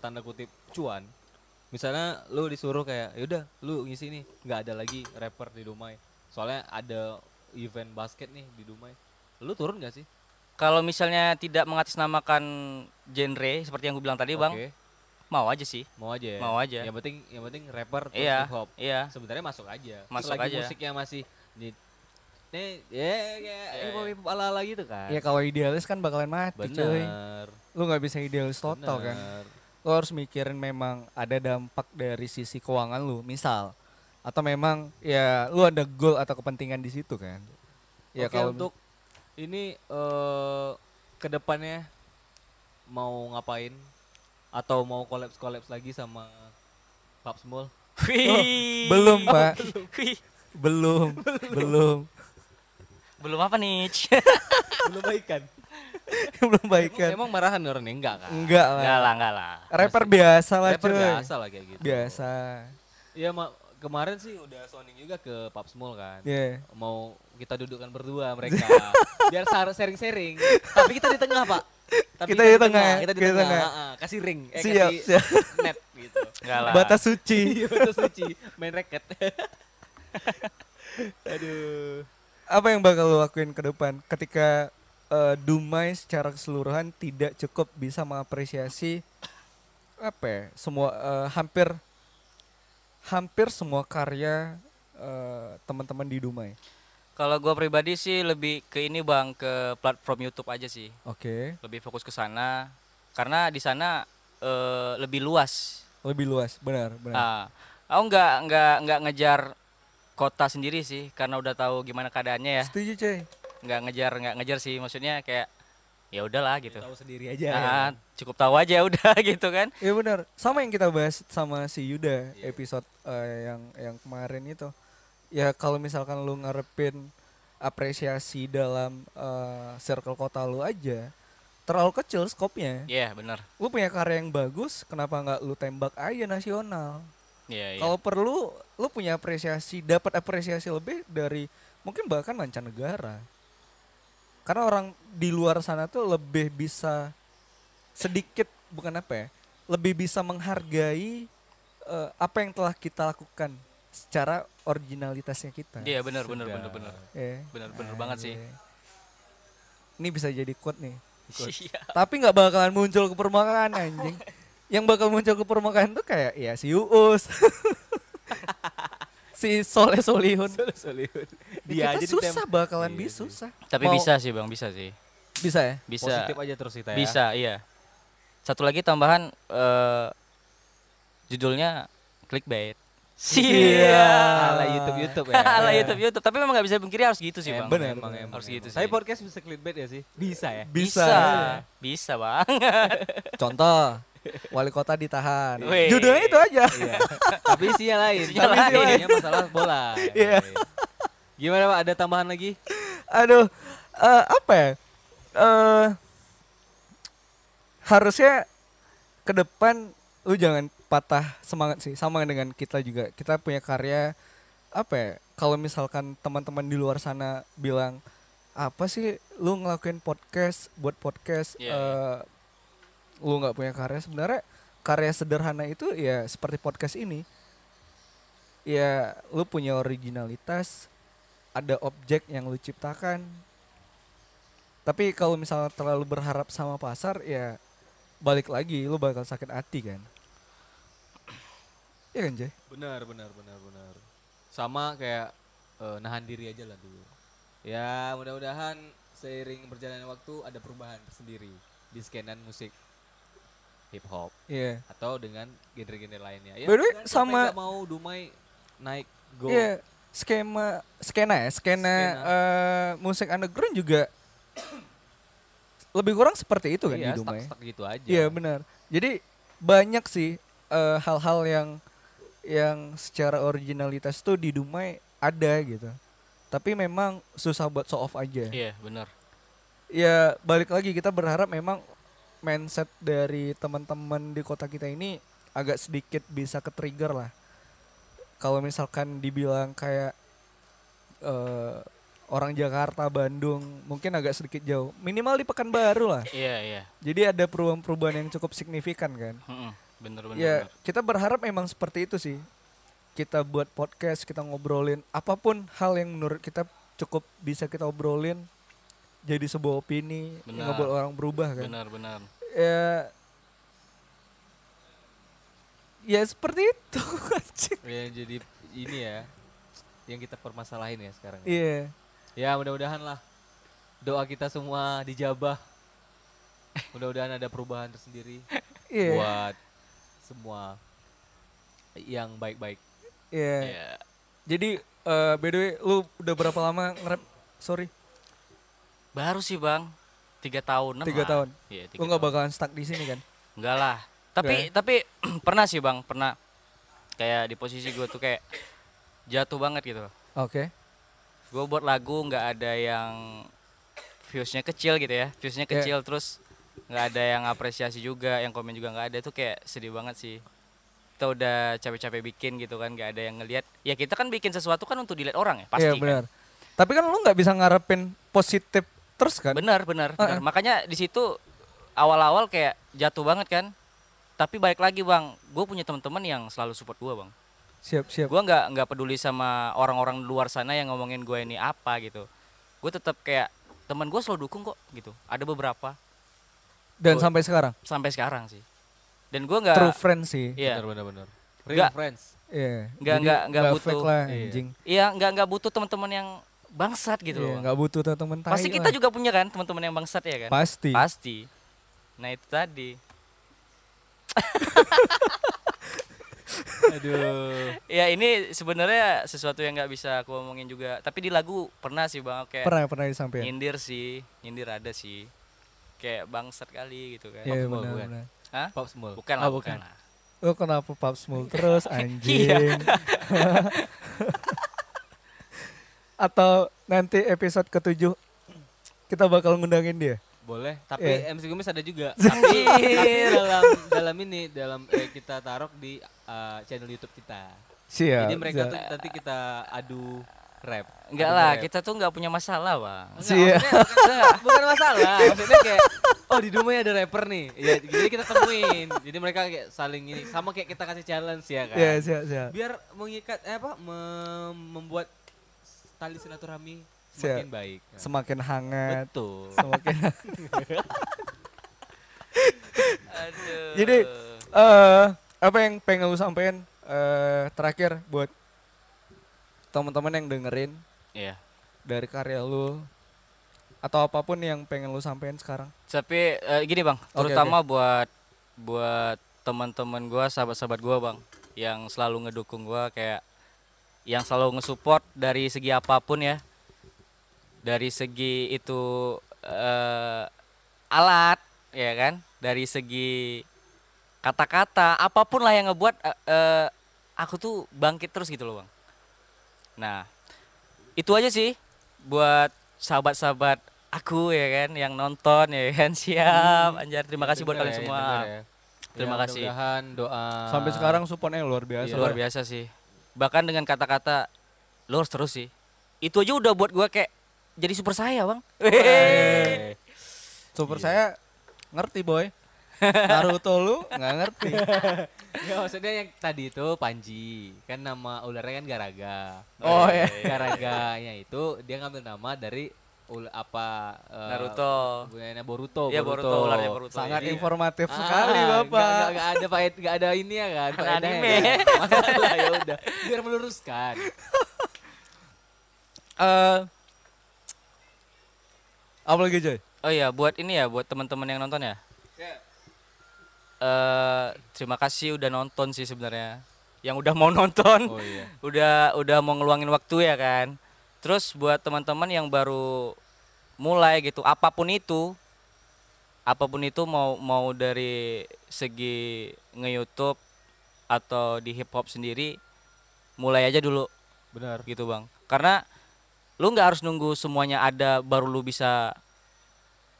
S1: tanda kutip cuan, misalnya lu disuruh kayak yaudah lu ngisi nih, nggak ada lagi rapper di Dumai. Soalnya ada event basket nih di Dumai. Lu turun gak sih?
S3: Kalau misalnya tidak mengatasnamakan genre seperti yang gue bilang tadi, Iya, Bang,
S1: Oke,
S3: mau aja sih.
S1: mau aja ya.
S3: Mau aja.
S1: Yang penting yang penting rapper terus
S3: Iya.
S1: hip hop.
S3: Iya.
S1: Sebenarnya masuk aja.
S3: Masuk
S1: Selagi
S3: aja.
S1: musiknya masih di nih ya kayak
S3: Iya,
S1: hip hop
S3: iya.
S1: hip hop ala ala gitu kan.
S2: Ya kalau idealis kan bakalan mati cuy.
S1: Bener.
S2: Lu nggak bisa idealis total kan.
S1: bener.
S2: Lu harus mikirin memang ada dampak dari sisi keuangan lu, misal. Atau memang ya lu ada goal atau kepentingan di situ kan. Ya
S1: Oke
S2: kalau
S1: untuk ini eh kedepannya mau ngapain atau mau kolaps kolaps lagi sama Pap Small?
S3: Wih.
S2: belum, Pak.
S3: Wih.
S2: belum, belum,
S3: Belum apa nih?
S1: Belum baikan.
S2: belum
S1: Emang,
S2: baikan.
S1: emang marahan orangnya enggak kan?
S2: Enggak lah.
S3: Enggak lah, enggak lah.
S2: Rapper biasa lah
S1: Rapper
S2: Iya, cuy.
S1: biasa lah kayak gitu.
S2: Biasa.
S1: Iya ma- kemarin sih udah sounding juga ke Pap Small kan.
S2: Ya.
S1: Mau kita dudukkan berdua mereka.
S2: Iya.
S1: Biar sar- sharing-sharing. Tapi kita di tengah, Pak. Tapi
S2: Kita di tengah, ya.
S1: kita di
S2: kita
S1: tengah.
S2: tengah.
S1: ah, ah. kasih ring, eh,
S2: Siap,
S1: kasih
S2: siap.
S1: net gitu.
S3: Enggak lah.
S2: Batas suci.
S1: Iya, itu suci, main racket. Aduh.
S2: Apa yang bakal lo lakuin ke depan ketika eh, Dumai secara keseluruhan tidak cukup bisa mengapresiasi apa ya, semua eh, hampir hampir semua karya eh, teman-teman di Dumai.
S3: Kalau gua pribadi sih lebih ke ini, Bang, ke platform YouTube aja sih.
S2: Oke,
S3: Lebih fokus ke sana karena di sana eh, lebih luas.
S2: lebih luas, benar, benar.
S3: Ah, aku nggak nggak nggak ngejar kota sendiri sih karena udah tahu gimana keadaannya ya.
S2: Setuju, cuy.
S3: Nggak ngejar nggak ngejar sih maksudnya kayak ya udahlah gitu.
S1: Tahu sendiri aja.
S3: Ah, cukup tahu aja udah gitu kan.
S2: Iya benar. Sama yang kita bahas sama si Yuda episode eh, yang yang kemarin itu. Ya kalau misalkan lu ngarepin apresiasi dalam eh, circle kota lu aja terlalu kecil skopnya.
S3: Iya, bener
S2: Lu punya karya yang bagus, kenapa nggak lu tembak aja nasional?
S3: Iya, iya.
S2: Kalau perlu lu punya apresiasi, dapat apresiasi lebih dari mungkin bahkan mancanegara. Karena orang di luar sana tuh lebih bisa sedikit bukan apa ya, lebih bisa menghargai eh, apa yang telah kita lakukan secara originalitasnya kita.
S3: Iya, bener bener
S1: Sudah.
S3: bener bener.
S2: Eh,
S3: Bener bener banget sih.
S2: eh. Ini bisa jadi quote nih.
S3: Iya.
S2: Tapi nggak bakalan muncul ke permukaan anjing. Yang bakal muncul ke permukaan tuh kayak ya si Uus. si Soleh Solihun.
S1: Solihun.
S2: Dia
S1: Dia aja
S2: kita
S1: ditem-
S2: susah bakalan
S1: Iya,
S2: bi
S1: sih.
S2: susah.
S3: Tapi
S2: Mau-
S3: bisa sih, Bang, bisa sih.
S2: Bisa ya?
S3: Bisa.
S1: Positif aja terus kita ya.
S3: Bisa, iya. Satu lagi tambahan eh judulnya clickbait.
S1: Iya. Ala YouTube-YouTube ya.
S3: Iya. Ala YouTube YouTube, tapi memang nggak bisa dipungkiri harus gitu sih,
S1: Emang,
S3: Bang.
S1: bener, emang, emang,
S3: Iya. Harus gitu sih. Iya.
S1: Tapi podcast bisa clickbait ya sih? Bisa ya.
S2: Bisa.
S3: Bisa, Bang.
S2: Contoh, wali kota ditahan.
S3: Wih.
S2: Judulnya itu aja.
S1: Iya. Tapi isinya lain.
S3: Isinya
S1: Tapi
S3: lain.
S1: isinya masalah bola.
S2: Iya.
S1: Gimana Pak, ada tambahan lagi?
S2: Aduh, eh, apa ya? Eh, harusnya ke depan lu jangan patah semangat sih. Sama dengan kita juga. Kita punya karya apa ya? Kalau misalkan teman-teman di luar sana bilang apa sih lu ngelakuin podcast buat podcast
S3: Iya,
S2: eh lu nggak punya karya sebenarnya karya sederhana itu ya seperti podcast ini ya lu punya originalitas ada objek yang lu ciptakan tapi kalau misalnya terlalu berharap sama pasar ya balik lagi lu bakal sakit hati kan Iya kan Jay?
S1: Benar, benar, benar, benar. Sama kayak eh, nahan diri aja lah dulu. Ya, mudah-mudahan seiring berjalannya waktu ada perubahan sendiri di skenan musik hip hop
S2: Iya.
S1: atau dengan genre-genre lainnya. Ya,
S2: By the way,
S1: jangan sampai
S2: sama-
S1: nggak mau Dumai naik go.
S2: Iya. skema skena ya skena,
S1: Skena.
S2: eh, musik underground juga lebih kurang seperti itu kan
S1: iya,
S2: di Dumai.
S1: stuck-stuck gitu aja.
S2: Iya benar. Jadi banyak sih eh, hal-hal yang yang secara originalitas tuh di Dumai ada gitu. Tapi memang susah buat show off aja.
S3: Iya, benar.
S2: Ya balik lagi kita berharap memang mindset dari teman-teman di kota kita ini agak sedikit bisa ke trigger lah. Kalau misalkan dibilang kayak eh, orang Jakarta, Bandung mungkin agak sedikit jauh. Minimal di Pekanbaru lah.
S3: Iya, iya.
S2: Jadi ada perubahan-perubahan yang cukup signifikan kan.
S3: Mm-mm, Bener, bener.
S2: Ya,
S3: bener.
S2: kita berharap memang seperti itu sih. Kita buat podcast, kita ngobrolin apapun hal yang menurut kita cukup bisa kita obrolin jadi sebuah opini,
S3: Benar.
S2: ngebuat orang berubah kan.
S3: Bener, bener.
S2: Ya Ya seperti itu anjing.
S1: Ya, jadi ini ya yang kita permasalahin ya sekarang.
S2: Iya.
S1: Ya mudah-mudahan lah doa kita semua dijabah. Mudah-mudahan ada perubahan tersendiri
S2: Iya.
S1: buat semua yang baik-baik.
S2: Iya.
S3: Iya.
S2: Jadi eh by the way lu udah berapa lama nge-rap? Sorry,
S3: Baru sih, Bang. Tiga tahunan
S2: tiga
S3: lah.
S2: tahun.
S3: Iya, tiga
S2: Lu nggak ya? bakalan stuck di sini kan?
S3: Enggak lah. Tapi tapi pernah sih bang, pernah kayak di posisi gue tuh kayak jatuh banget gitu.
S2: Oke. Iya,
S3: Gue buat lagu nggak ada yang viewsnya kecil gitu ya, viewsnya
S2: Iya.
S3: kecil terus nggak ada yang apresiasi juga, yang komen juga nggak ada itu kayak sedih banget sih. Kita udah capek-capek bikin gitu kan, nggak ada yang ngelihat. Ya kita kan bikin sesuatu kan untuk dilihat orang ya, pasti.
S2: Iya
S3: kan.
S2: benar. Tapi kan lu nggak bisa ngarepin positif terus kan?
S3: Benar, benar, benar. Makanya di situ awal-awal kayak jatuh banget kan. Tapi balik lagi bang, gue punya teman-teman yang selalu support gue bang.
S2: Siap siap.
S3: gue nggak nggak peduli sama orang-orang di luar sana yang ngomongin gue ini apa gitu gue tetap kayak teman gue selalu dukung kok gitu ada beberapa
S2: Dan
S3: gua-
S2: sampai sekarang
S3: sampai sekarang sih dan gue nggak
S2: true friend sih.
S3: iya
S1: Benar-benar. Real
S3: Nggak.
S1: friends.
S2: Iya.
S3: Nggak-
S2: Jadi
S3: nggak- nggak
S2: fake
S3: butuh.
S2: lah
S1: Iya.
S2: anjing.
S3: iya nggak nggak butuh teman-teman yang bangsat gitu
S2: Iya,
S3: loh Bang.
S2: nggak butuh tuh temen tai
S3: pasti kita
S2: lah.
S3: juga punya kan teman-teman yang bangsat ya kan
S2: pasti.
S3: pasti nah itu tadi
S1: Aduh.
S3: ya ini sebenarnya sesuatu yang nggak bisa aku omongin juga tapi di lagu pernah sih bang kayak
S2: Pernah pernah disampaikan. Iya,
S3: nyindir sih nyindir ada sih kayak bangsat kali gitu kan
S2: Iya
S1: semua
S2: benar
S1: bukan.
S2: benar.
S3: Hah?
S1: Pop Small.
S3: bukan lah
S1: Oh,
S3: bukan
S1: bukan.
S3: lah
S2: Lu kenapa pub
S3: Iya.
S2: small terus anjing? Atau nanti episode ketujuh kita bakal ngundangin dia.
S1: Boleh, tapi
S2: Iya.
S1: MC Gumis ada juga. tapi, tapi dalam dalam ini dalam eh, kita taruh di eh, channel YouTube kita.
S2: Siap.
S1: Jadi mereka
S2: siap.
S1: tuh nanti kita adu rap.
S3: Enggak
S1: Adu
S3: lah,
S1: rap.
S3: kita tuh nggak punya masalah, Bang.
S2: Siap.
S1: Enggak, bukan masalah. Maksudnya kayak oh di Dumai ada rapper nih. Ya jadi kita temuin. Jadi mereka kayak saling ini sama kayak kita kasih challenge ya kan.
S2: Iya, siap siap.
S1: Biar mengikat eh, apa mem- membuat tali silaturahmi semakin baik.
S2: Semakin hangat,
S1: Betul.
S2: semakin
S3: Aduh.
S2: Jadi eh apa yang pengen lu sampein eh, terakhir buat teman-teman yang dengerin
S3: Iya.
S2: dari karya lu atau apapun yang pengen lu sampein sekarang?
S3: Tapi eh, gini, Bang,
S2: Oke,
S3: terutama buat buat teman-teman gua, sahabat-sahabat gua, Bang, yang selalu ngedukung gua kayak yang selalu ngesupport dari segi apapun ya. Dari segi itu eh alat, ya kan? Dari segi kata-kata, apapun lah yang ngebuat eh, eh, aku tuh bangkit terus gitu loh, Bang. Nah, itu aja sih buat sahabat-sahabat aku ya kan yang nonton ya kan siap anjar terima kasih buat
S1: Hmm. Bener
S3: kalian
S1: ya,
S3: semua
S1: bener ya.
S3: Terima
S1: Ya,
S3: kasih.
S1: mudah-mudahan doa.
S2: Sampai sekarang supportnya luar biasa.
S1: Ah. Iya.
S3: luar biasa sih bahkan dengan kata-kata lo harus terus sih itu aja udah buat gua kayak jadi super saya bang
S1: Hey. Iya.
S2: Super saya ngerti boy. Naruto lu nggak ngerti.
S1: Iya. Ya maksudnya yang tadi itu Panji kan nama ularnya kan Garaga. Nah,
S2: Oh, iya.
S1: Garaganya itu dia ngambil nama dari ul apa eh,
S3: Naruto
S1: Bukannya Oh, Boruto.
S3: Iya, Boruto, ularnya Boruto.
S2: Sangat
S3: Iya.
S2: informatif
S1: Ah,
S2: sekali bapak.
S1: nggak- nggak- nggak ada pahit, nggak ada ini ya kan.
S3: Anak
S1: faedahnya
S3: anime.
S1: kan. Makanya ya udah biar meluruskan.
S2: Eh, apa lagi Joy?
S3: oh iya buat ini ya buat teman-teman yang nonton ya Eh terima kasih udah nonton sih sebenarnya yang udah mau nonton
S1: Oh iya.
S3: udah udah mau ngeluangin waktu ya kan terus buat teman-teman yang baru mulai gitu apapun itu apapun itu mau mau dari segi nge-YouTube atau di hip hop sendiri mulai aja dulu
S1: Benar.
S3: gitu bang karena lu nggak harus nunggu semuanya ada baru lu bisa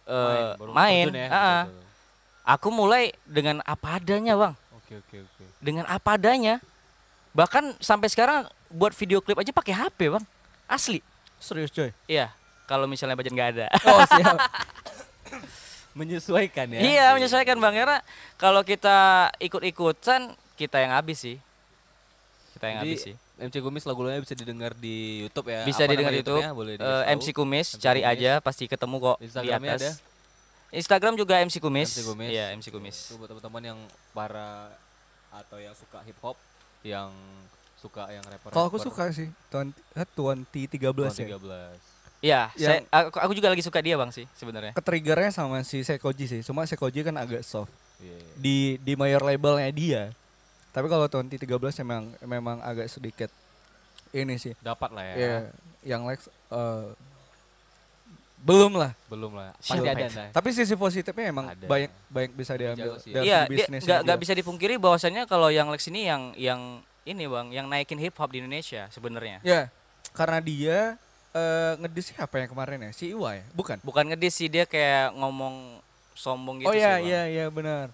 S3: eh,
S1: baru
S3: main,
S1: terjun ya.
S3: Ah, ah.
S1: Betul, betul.
S3: aku mulai dengan apa adanya bang
S1: Oke oke oke.
S3: dengan apa adanya bahkan sampai sekarang buat video klip aja pakai HP bang asli
S2: Serius coy.
S3: iya kalau misalnya budget nggak ada
S2: Oh siap.
S1: Menyesuaikan ya.
S3: iya menyesuaikan bang karena kalau kita ikut-ikutan kita yang habis sih kita yang
S1: Jadi,
S3: habis sih
S1: MC Kumis lagu-lagunya bisa didengar di YouTube ya.
S3: bisa
S1: Apa
S3: didengar
S1: nama
S3: YouTube,
S1: YouTube-nya? Boleh
S3: eh,
S1: dikasih tahu?
S3: MC Kumis
S1: MC
S3: cari
S1: Kumis.
S3: aja pasti ketemu kok di
S1: Instagramnya
S3: atas
S1: ada?
S3: Instagram juga MC Kumis
S1: MC Kumis.
S3: iya MC Kumis
S1: Itu buat teman-teman yang para atau yang suka hip hop, yang suka yang rapper.
S2: Kalau aku suka sih tuan tuanti 13 ya.
S1: 13.
S3: iya
S2: Yang-
S3: saya, aku, aku juga lagi suka dia bang sih sebenarnya
S2: Ketriggernya sama si Sekoji sih. Cuma Sekoji kan agak soft
S1: Iya.
S2: di di mayor labelnya dia. Tapi kalau tuanti 13 memang memang agak sedikit ini sih.
S1: Dapat lah ya.
S3: Iya.
S2: Ya, yang Lex eh, belum lah.
S1: Belum lah. Pasti
S3: Siapa
S1: ada
S3: itu?
S1: nah.
S2: Tapi sisi positifnya emang
S1: Ada.
S2: banyak banyak bisa diambil
S1: jago sih.
S2: dari
S3: Iya, dia
S2: bisnisnya
S3: nggak nggak
S2: dia.
S3: bisa dipungkiri bahwasannya kalau yang Lex ini yang yang ini bang, yang naikin hip hop di Indonesia sebenarnya.
S2: Ya, karena dia eh ngedis siapa yang kemarin ya? Si Iwa ya? Bukan.
S3: Bukan ngedis sih dia kayak ngomong sombong gitu
S2: oh iya
S3: sih, Bang.
S2: iya iya benar.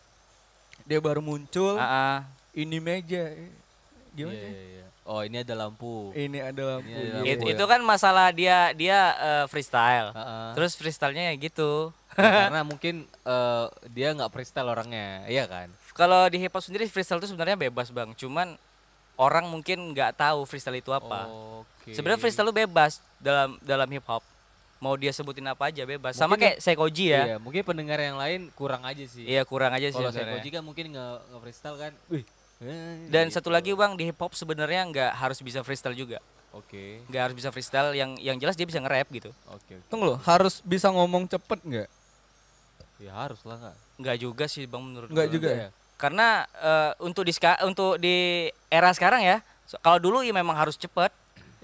S2: Dia baru muncul
S3: Ah, ah.
S2: ini meja. Eh, Gimana?
S1: Iya,
S2: sih?
S1: iya, iya. Oh, ini ada lampu.
S2: Ini ada lampu.
S1: ada
S2: iya,
S1: lampu.
S3: It-
S2: iya.
S3: itu kan masalah dia dia eh, freestyle.
S1: ya. Ah, ah.
S3: Terus freestylenya ya gitu.
S1: Ya, karena mungkin eh, dia nggak freestyle orangnya, iya kan?
S3: Kalau di hip hop sendiri freestyle itu sebenarnya bebas bang, cuman orang mungkin nggak tahu freestyle itu apa.
S1: Oke.
S3: Sebenarnya freestyle itu bebas dalam dalam hip hop. Mau dia sebutin apa aja bebas. Sama
S1: Mungkin-
S3: kayak Sekoji ya.
S1: Iya, mungkin pendengar yang lain kurang aja sih.
S3: Iya kurang aja sih
S1: Kalau
S3: sebenarnya.
S1: Sekoji kan mungkin nge, nge freestyle kan. Wih. eh,
S3: Dan
S1: gitu.
S3: satu lagi bang di hip hop sebenarnya nggak harus bisa freestyle juga,
S1: Oke.
S3: nggak harus bisa freestyle. Yang yang jelas dia bisa nge-rap gitu.
S1: Oke. oke.
S2: Tunggu loh, harus bisa ngomong cepet nggak?
S1: Ya harus lah nggak.
S3: Nggak juga sih bang menurut
S2: Nggak
S3: gua.
S2: juga
S1: iya.
S2: ya?
S3: Karena eh, untuk di ska- untuk di era sekarang ya, so- kalau dulu ya memang harus cepet.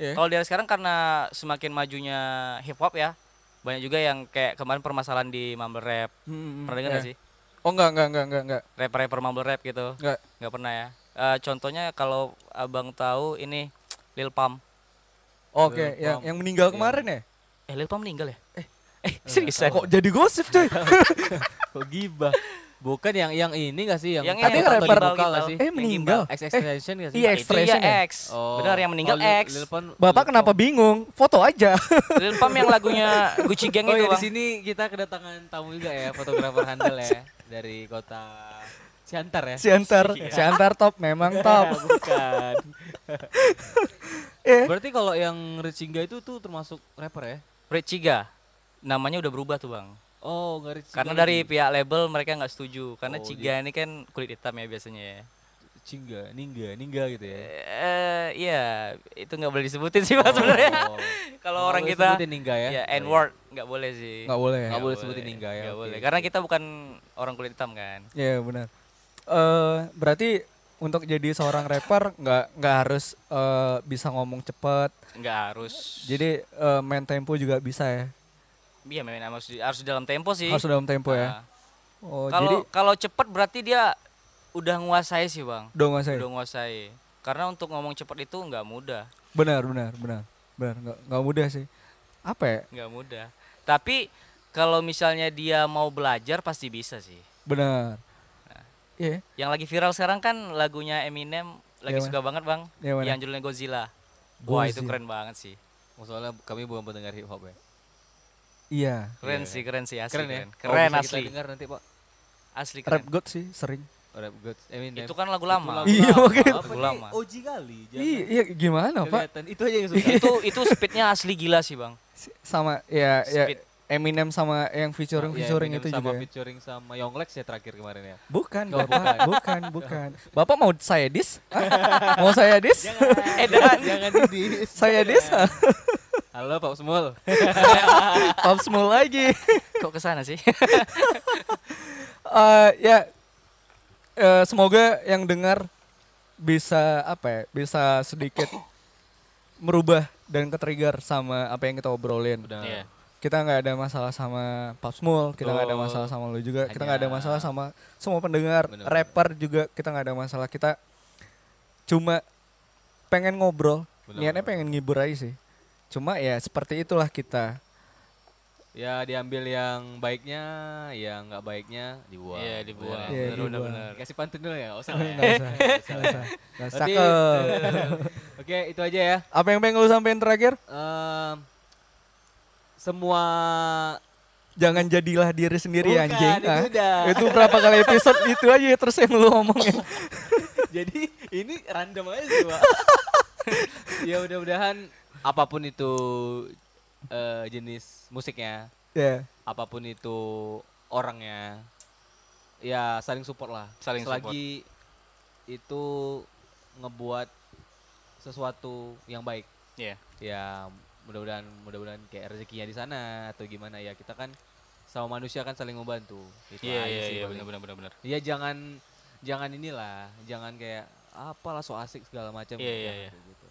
S2: Iya.
S3: Kalau di era sekarang karena semakin majunya hip hop ya, banyak juga yang kayak kemarin permasalahan di mumble rap.
S2: Hmm,
S3: Pernah dengar
S2: iya.
S3: nggak sih?
S2: Oh enggak enggak enggak enggak enggak.
S3: Rapper-rapper mumble rap gitu.
S2: Enggak.
S3: Nggak pernah ya. Eh, contohnya kalau abang tahu ini Lil Pam.
S1: Belum, belum.
S2: Oke, yang yang
S3: Iya.
S2: meninggal kemarin ya?
S3: Eh Lil Pam meninggal ya? Eh, eh seriusan?
S2: Kok jadi gosip cuy?
S1: Kok gibah? Bukan yang yang ini nggak sih yang
S3: Yang
S2: Tapi
S1: tadi
S3: ini,
S1: kan
S3: yang
S1: rapper
S3: gimbal,
S1: lokal nggak
S3: gimbal.
S1: sih?
S2: eh meninggal.
S1: X extension nggak sih? Oh. iya,
S2: iya,
S3: Nah, itu ya
S2: Extraction ya?
S3: X. Benar yang meninggal X.
S1: Lil, Pon-
S2: Bapak
S1: Lil
S2: kenapa
S1: Pon.
S2: bingung? Foto aja.
S3: Lil Pam yang lagunya Gucci Gang
S1: Oh
S3: itu
S1: ya di
S3: bang.
S1: sini kita kedatangan tamu juga ya fotografer handal ya dari kota Ciantar ya.
S2: Siantar,
S3: Iya.
S2: Siantar top memang
S1: Oh,
S2: top.
S1: Bukan.
S2: Eh.
S1: Berarti kalau yang Recinga itu tuh termasuk rapper ya?
S3: Preciga. Namanya udah berubah tuh bang.
S1: Oh, nggak Recinga.
S3: Karena dari pihak label mereka nggak setuju karena Ciga ini kan kulit hitam ya biasanya ya.
S1: Cinga, Ningga, Ningga gitu ya.
S3: Eh iya itu nggak boleh disebutin sih bang sebenarnya.
S1: Oh.
S3: Kalau
S1: Nggak
S3: orang
S1: boleh
S3: kita
S1: sebutin Ningga ya.
S3: ya N word nggak boleh sih.
S2: Enggak boleh. ya?
S1: Nggak boleh sebutin Ningga ya,
S3: Nggak
S1: oke,
S3: boleh
S1: oke.
S3: karena kita bukan orang kulit hitam kan.
S2: Iya benar. eh berarti untuk jadi seorang rapper nggak nggak harus eh, bisa ngomong cepat.
S3: Nggak harus.
S2: Jadi eh, main tempo juga bisa ya.
S3: Iya memang harus di- harus di dalam tempo sih.
S2: Harus dalam tempo ya.
S3: Ah.
S2: Oh jadi
S3: Kalau kalau cepet berarti dia udah nguasai sih bang.
S2: dong mas ya? saya.
S3: Udah nguasai. Karena untuk ngomong cepat itu nggak mudah,
S2: Benar benar benar benar nggak nggak mudah sih. Apa ya?
S3: nggak mudah. Tapi kalau misalnya dia mau belajar pasti bisa sih.
S2: Benar. Iya.
S3: Yang lagi viral sekarang kan lagunya Eminem lagi
S2: Yang
S3: suka banget bang,
S2: Yang iya, mana?
S3: yang judulnya Godzilla. Wah itu
S2: Godzilla.
S3: keren banget sih,
S1: Oh, Soalnya kami bukan pendengar hip hop ya.
S2: Iya.
S3: keren sih, keren sih asli
S1: Keren ya.
S3: keren,
S1: Kalau
S3: Keren,
S1: bisa
S3: asli,
S1: Kita dengar nanti, Pak.
S3: asli
S2: Rap
S3: keren.
S2: god sih sering.
S1: Rap God. I mean, ya.
S3: Itu kan lagu
S2: lagu
S3: lama.
S2: Iya, makanya.
S1: Apa
S3: Lagu
S1: nih?
S3: lama.
S1: OG kali.
S2: Iya, iya gimana pak?
S1: Kelihatan. Itu aja yang susah.
S3: itu itu speednya asli gila sih bang.
S2: S- Sama ya ya
S3: Speed.
S2: Eminem sama yang featuring
S1: Iya,
S2: featuring
S1: Eminem
S2: itu
S1: sama
S2: juga. ya.
S1: featuring sama Yonglex ya terakhir kemarin ya.
S2: Bukan,
S1: Oh,
S2: Bapak. bukan, bukan. Bapak mau saya dis? Hah? mau saya dis?
S3: Eh dan
S1: Jangan di
S2: saya dis?
S1: Halo Pak Smul.
S2: Pop small lagi.
S3: kok kesana sih?
S2: Eh, ya eh, semoga yang dengar bisa apa ya? Bisa sedikit merubah dan ketrigger sama apa yang kita obrolin.
S1: Udah.
S3: Iya.
S2: Kita nggak ada masalah sama Pops Mul, kita nggak ada
S1: Betul.
S2: masalah sama lu juga, kita
S1: Hanya-
S2: nggak ada masalah sama semua pendengar,
S1: Bener-bener.
S2: rapper juga kita nggak ada masalah. Kita cuma pengen ngobrol,
S1: Bener-bener.
S2: niatnya pengen ngibur aja sih. Cuma ya seperti itulah kita.
S1: Ya diambil yang baiknya, yang nggak baiknya dibuang.
S3: Iya, dibuang.
S1: Bener,
S2: Iya, dibuang.
S1: bener, bener. Kasih pantun dulu ya, nggak usah lah ya.
S2: Nggak usah, nggak usah, nggak usah.
S1: Berarti-
S2: Nah, Cakep.
S1: Oke, itu aja ya.
S2: Apa yang pengen lu sampein terakhir?
S1: Em, semua
S2: Jangan jadilah diri sendiri
S1: Bukan,
S2: anjing.
S1: itu
S2: Ah,
S1: udah.
S2: itu berapa kali episode itu aja terus yang lu ngomongin.
S1: jadi ini random aja sih, Pak. ya mudah-mudahan apapun itu eh, jenis musiknya,
S2: Ya.
S1: apapun itu orangnya, ya saling support lah.
S3: Saling
S1: Selagi itu ngebuat sesuatu yang baik.
S3: Iya.
S1: ya mudah-mudahan mudah-mudahan kayak rezekinya di sana atau gimana ya kita kan sama manusia kan saling membantu itu
S3: Iya,
S1: aja
S3: iya,
S1: sih
S3: iya,
S1: paling.
S3: benar benar benar benar.
S1: ya jangan jangan inilah jangan kayak apalah so asik segala macam
S3: Iya, iya,
S1: Jangan
S3: iya.
S1: kayak gitu.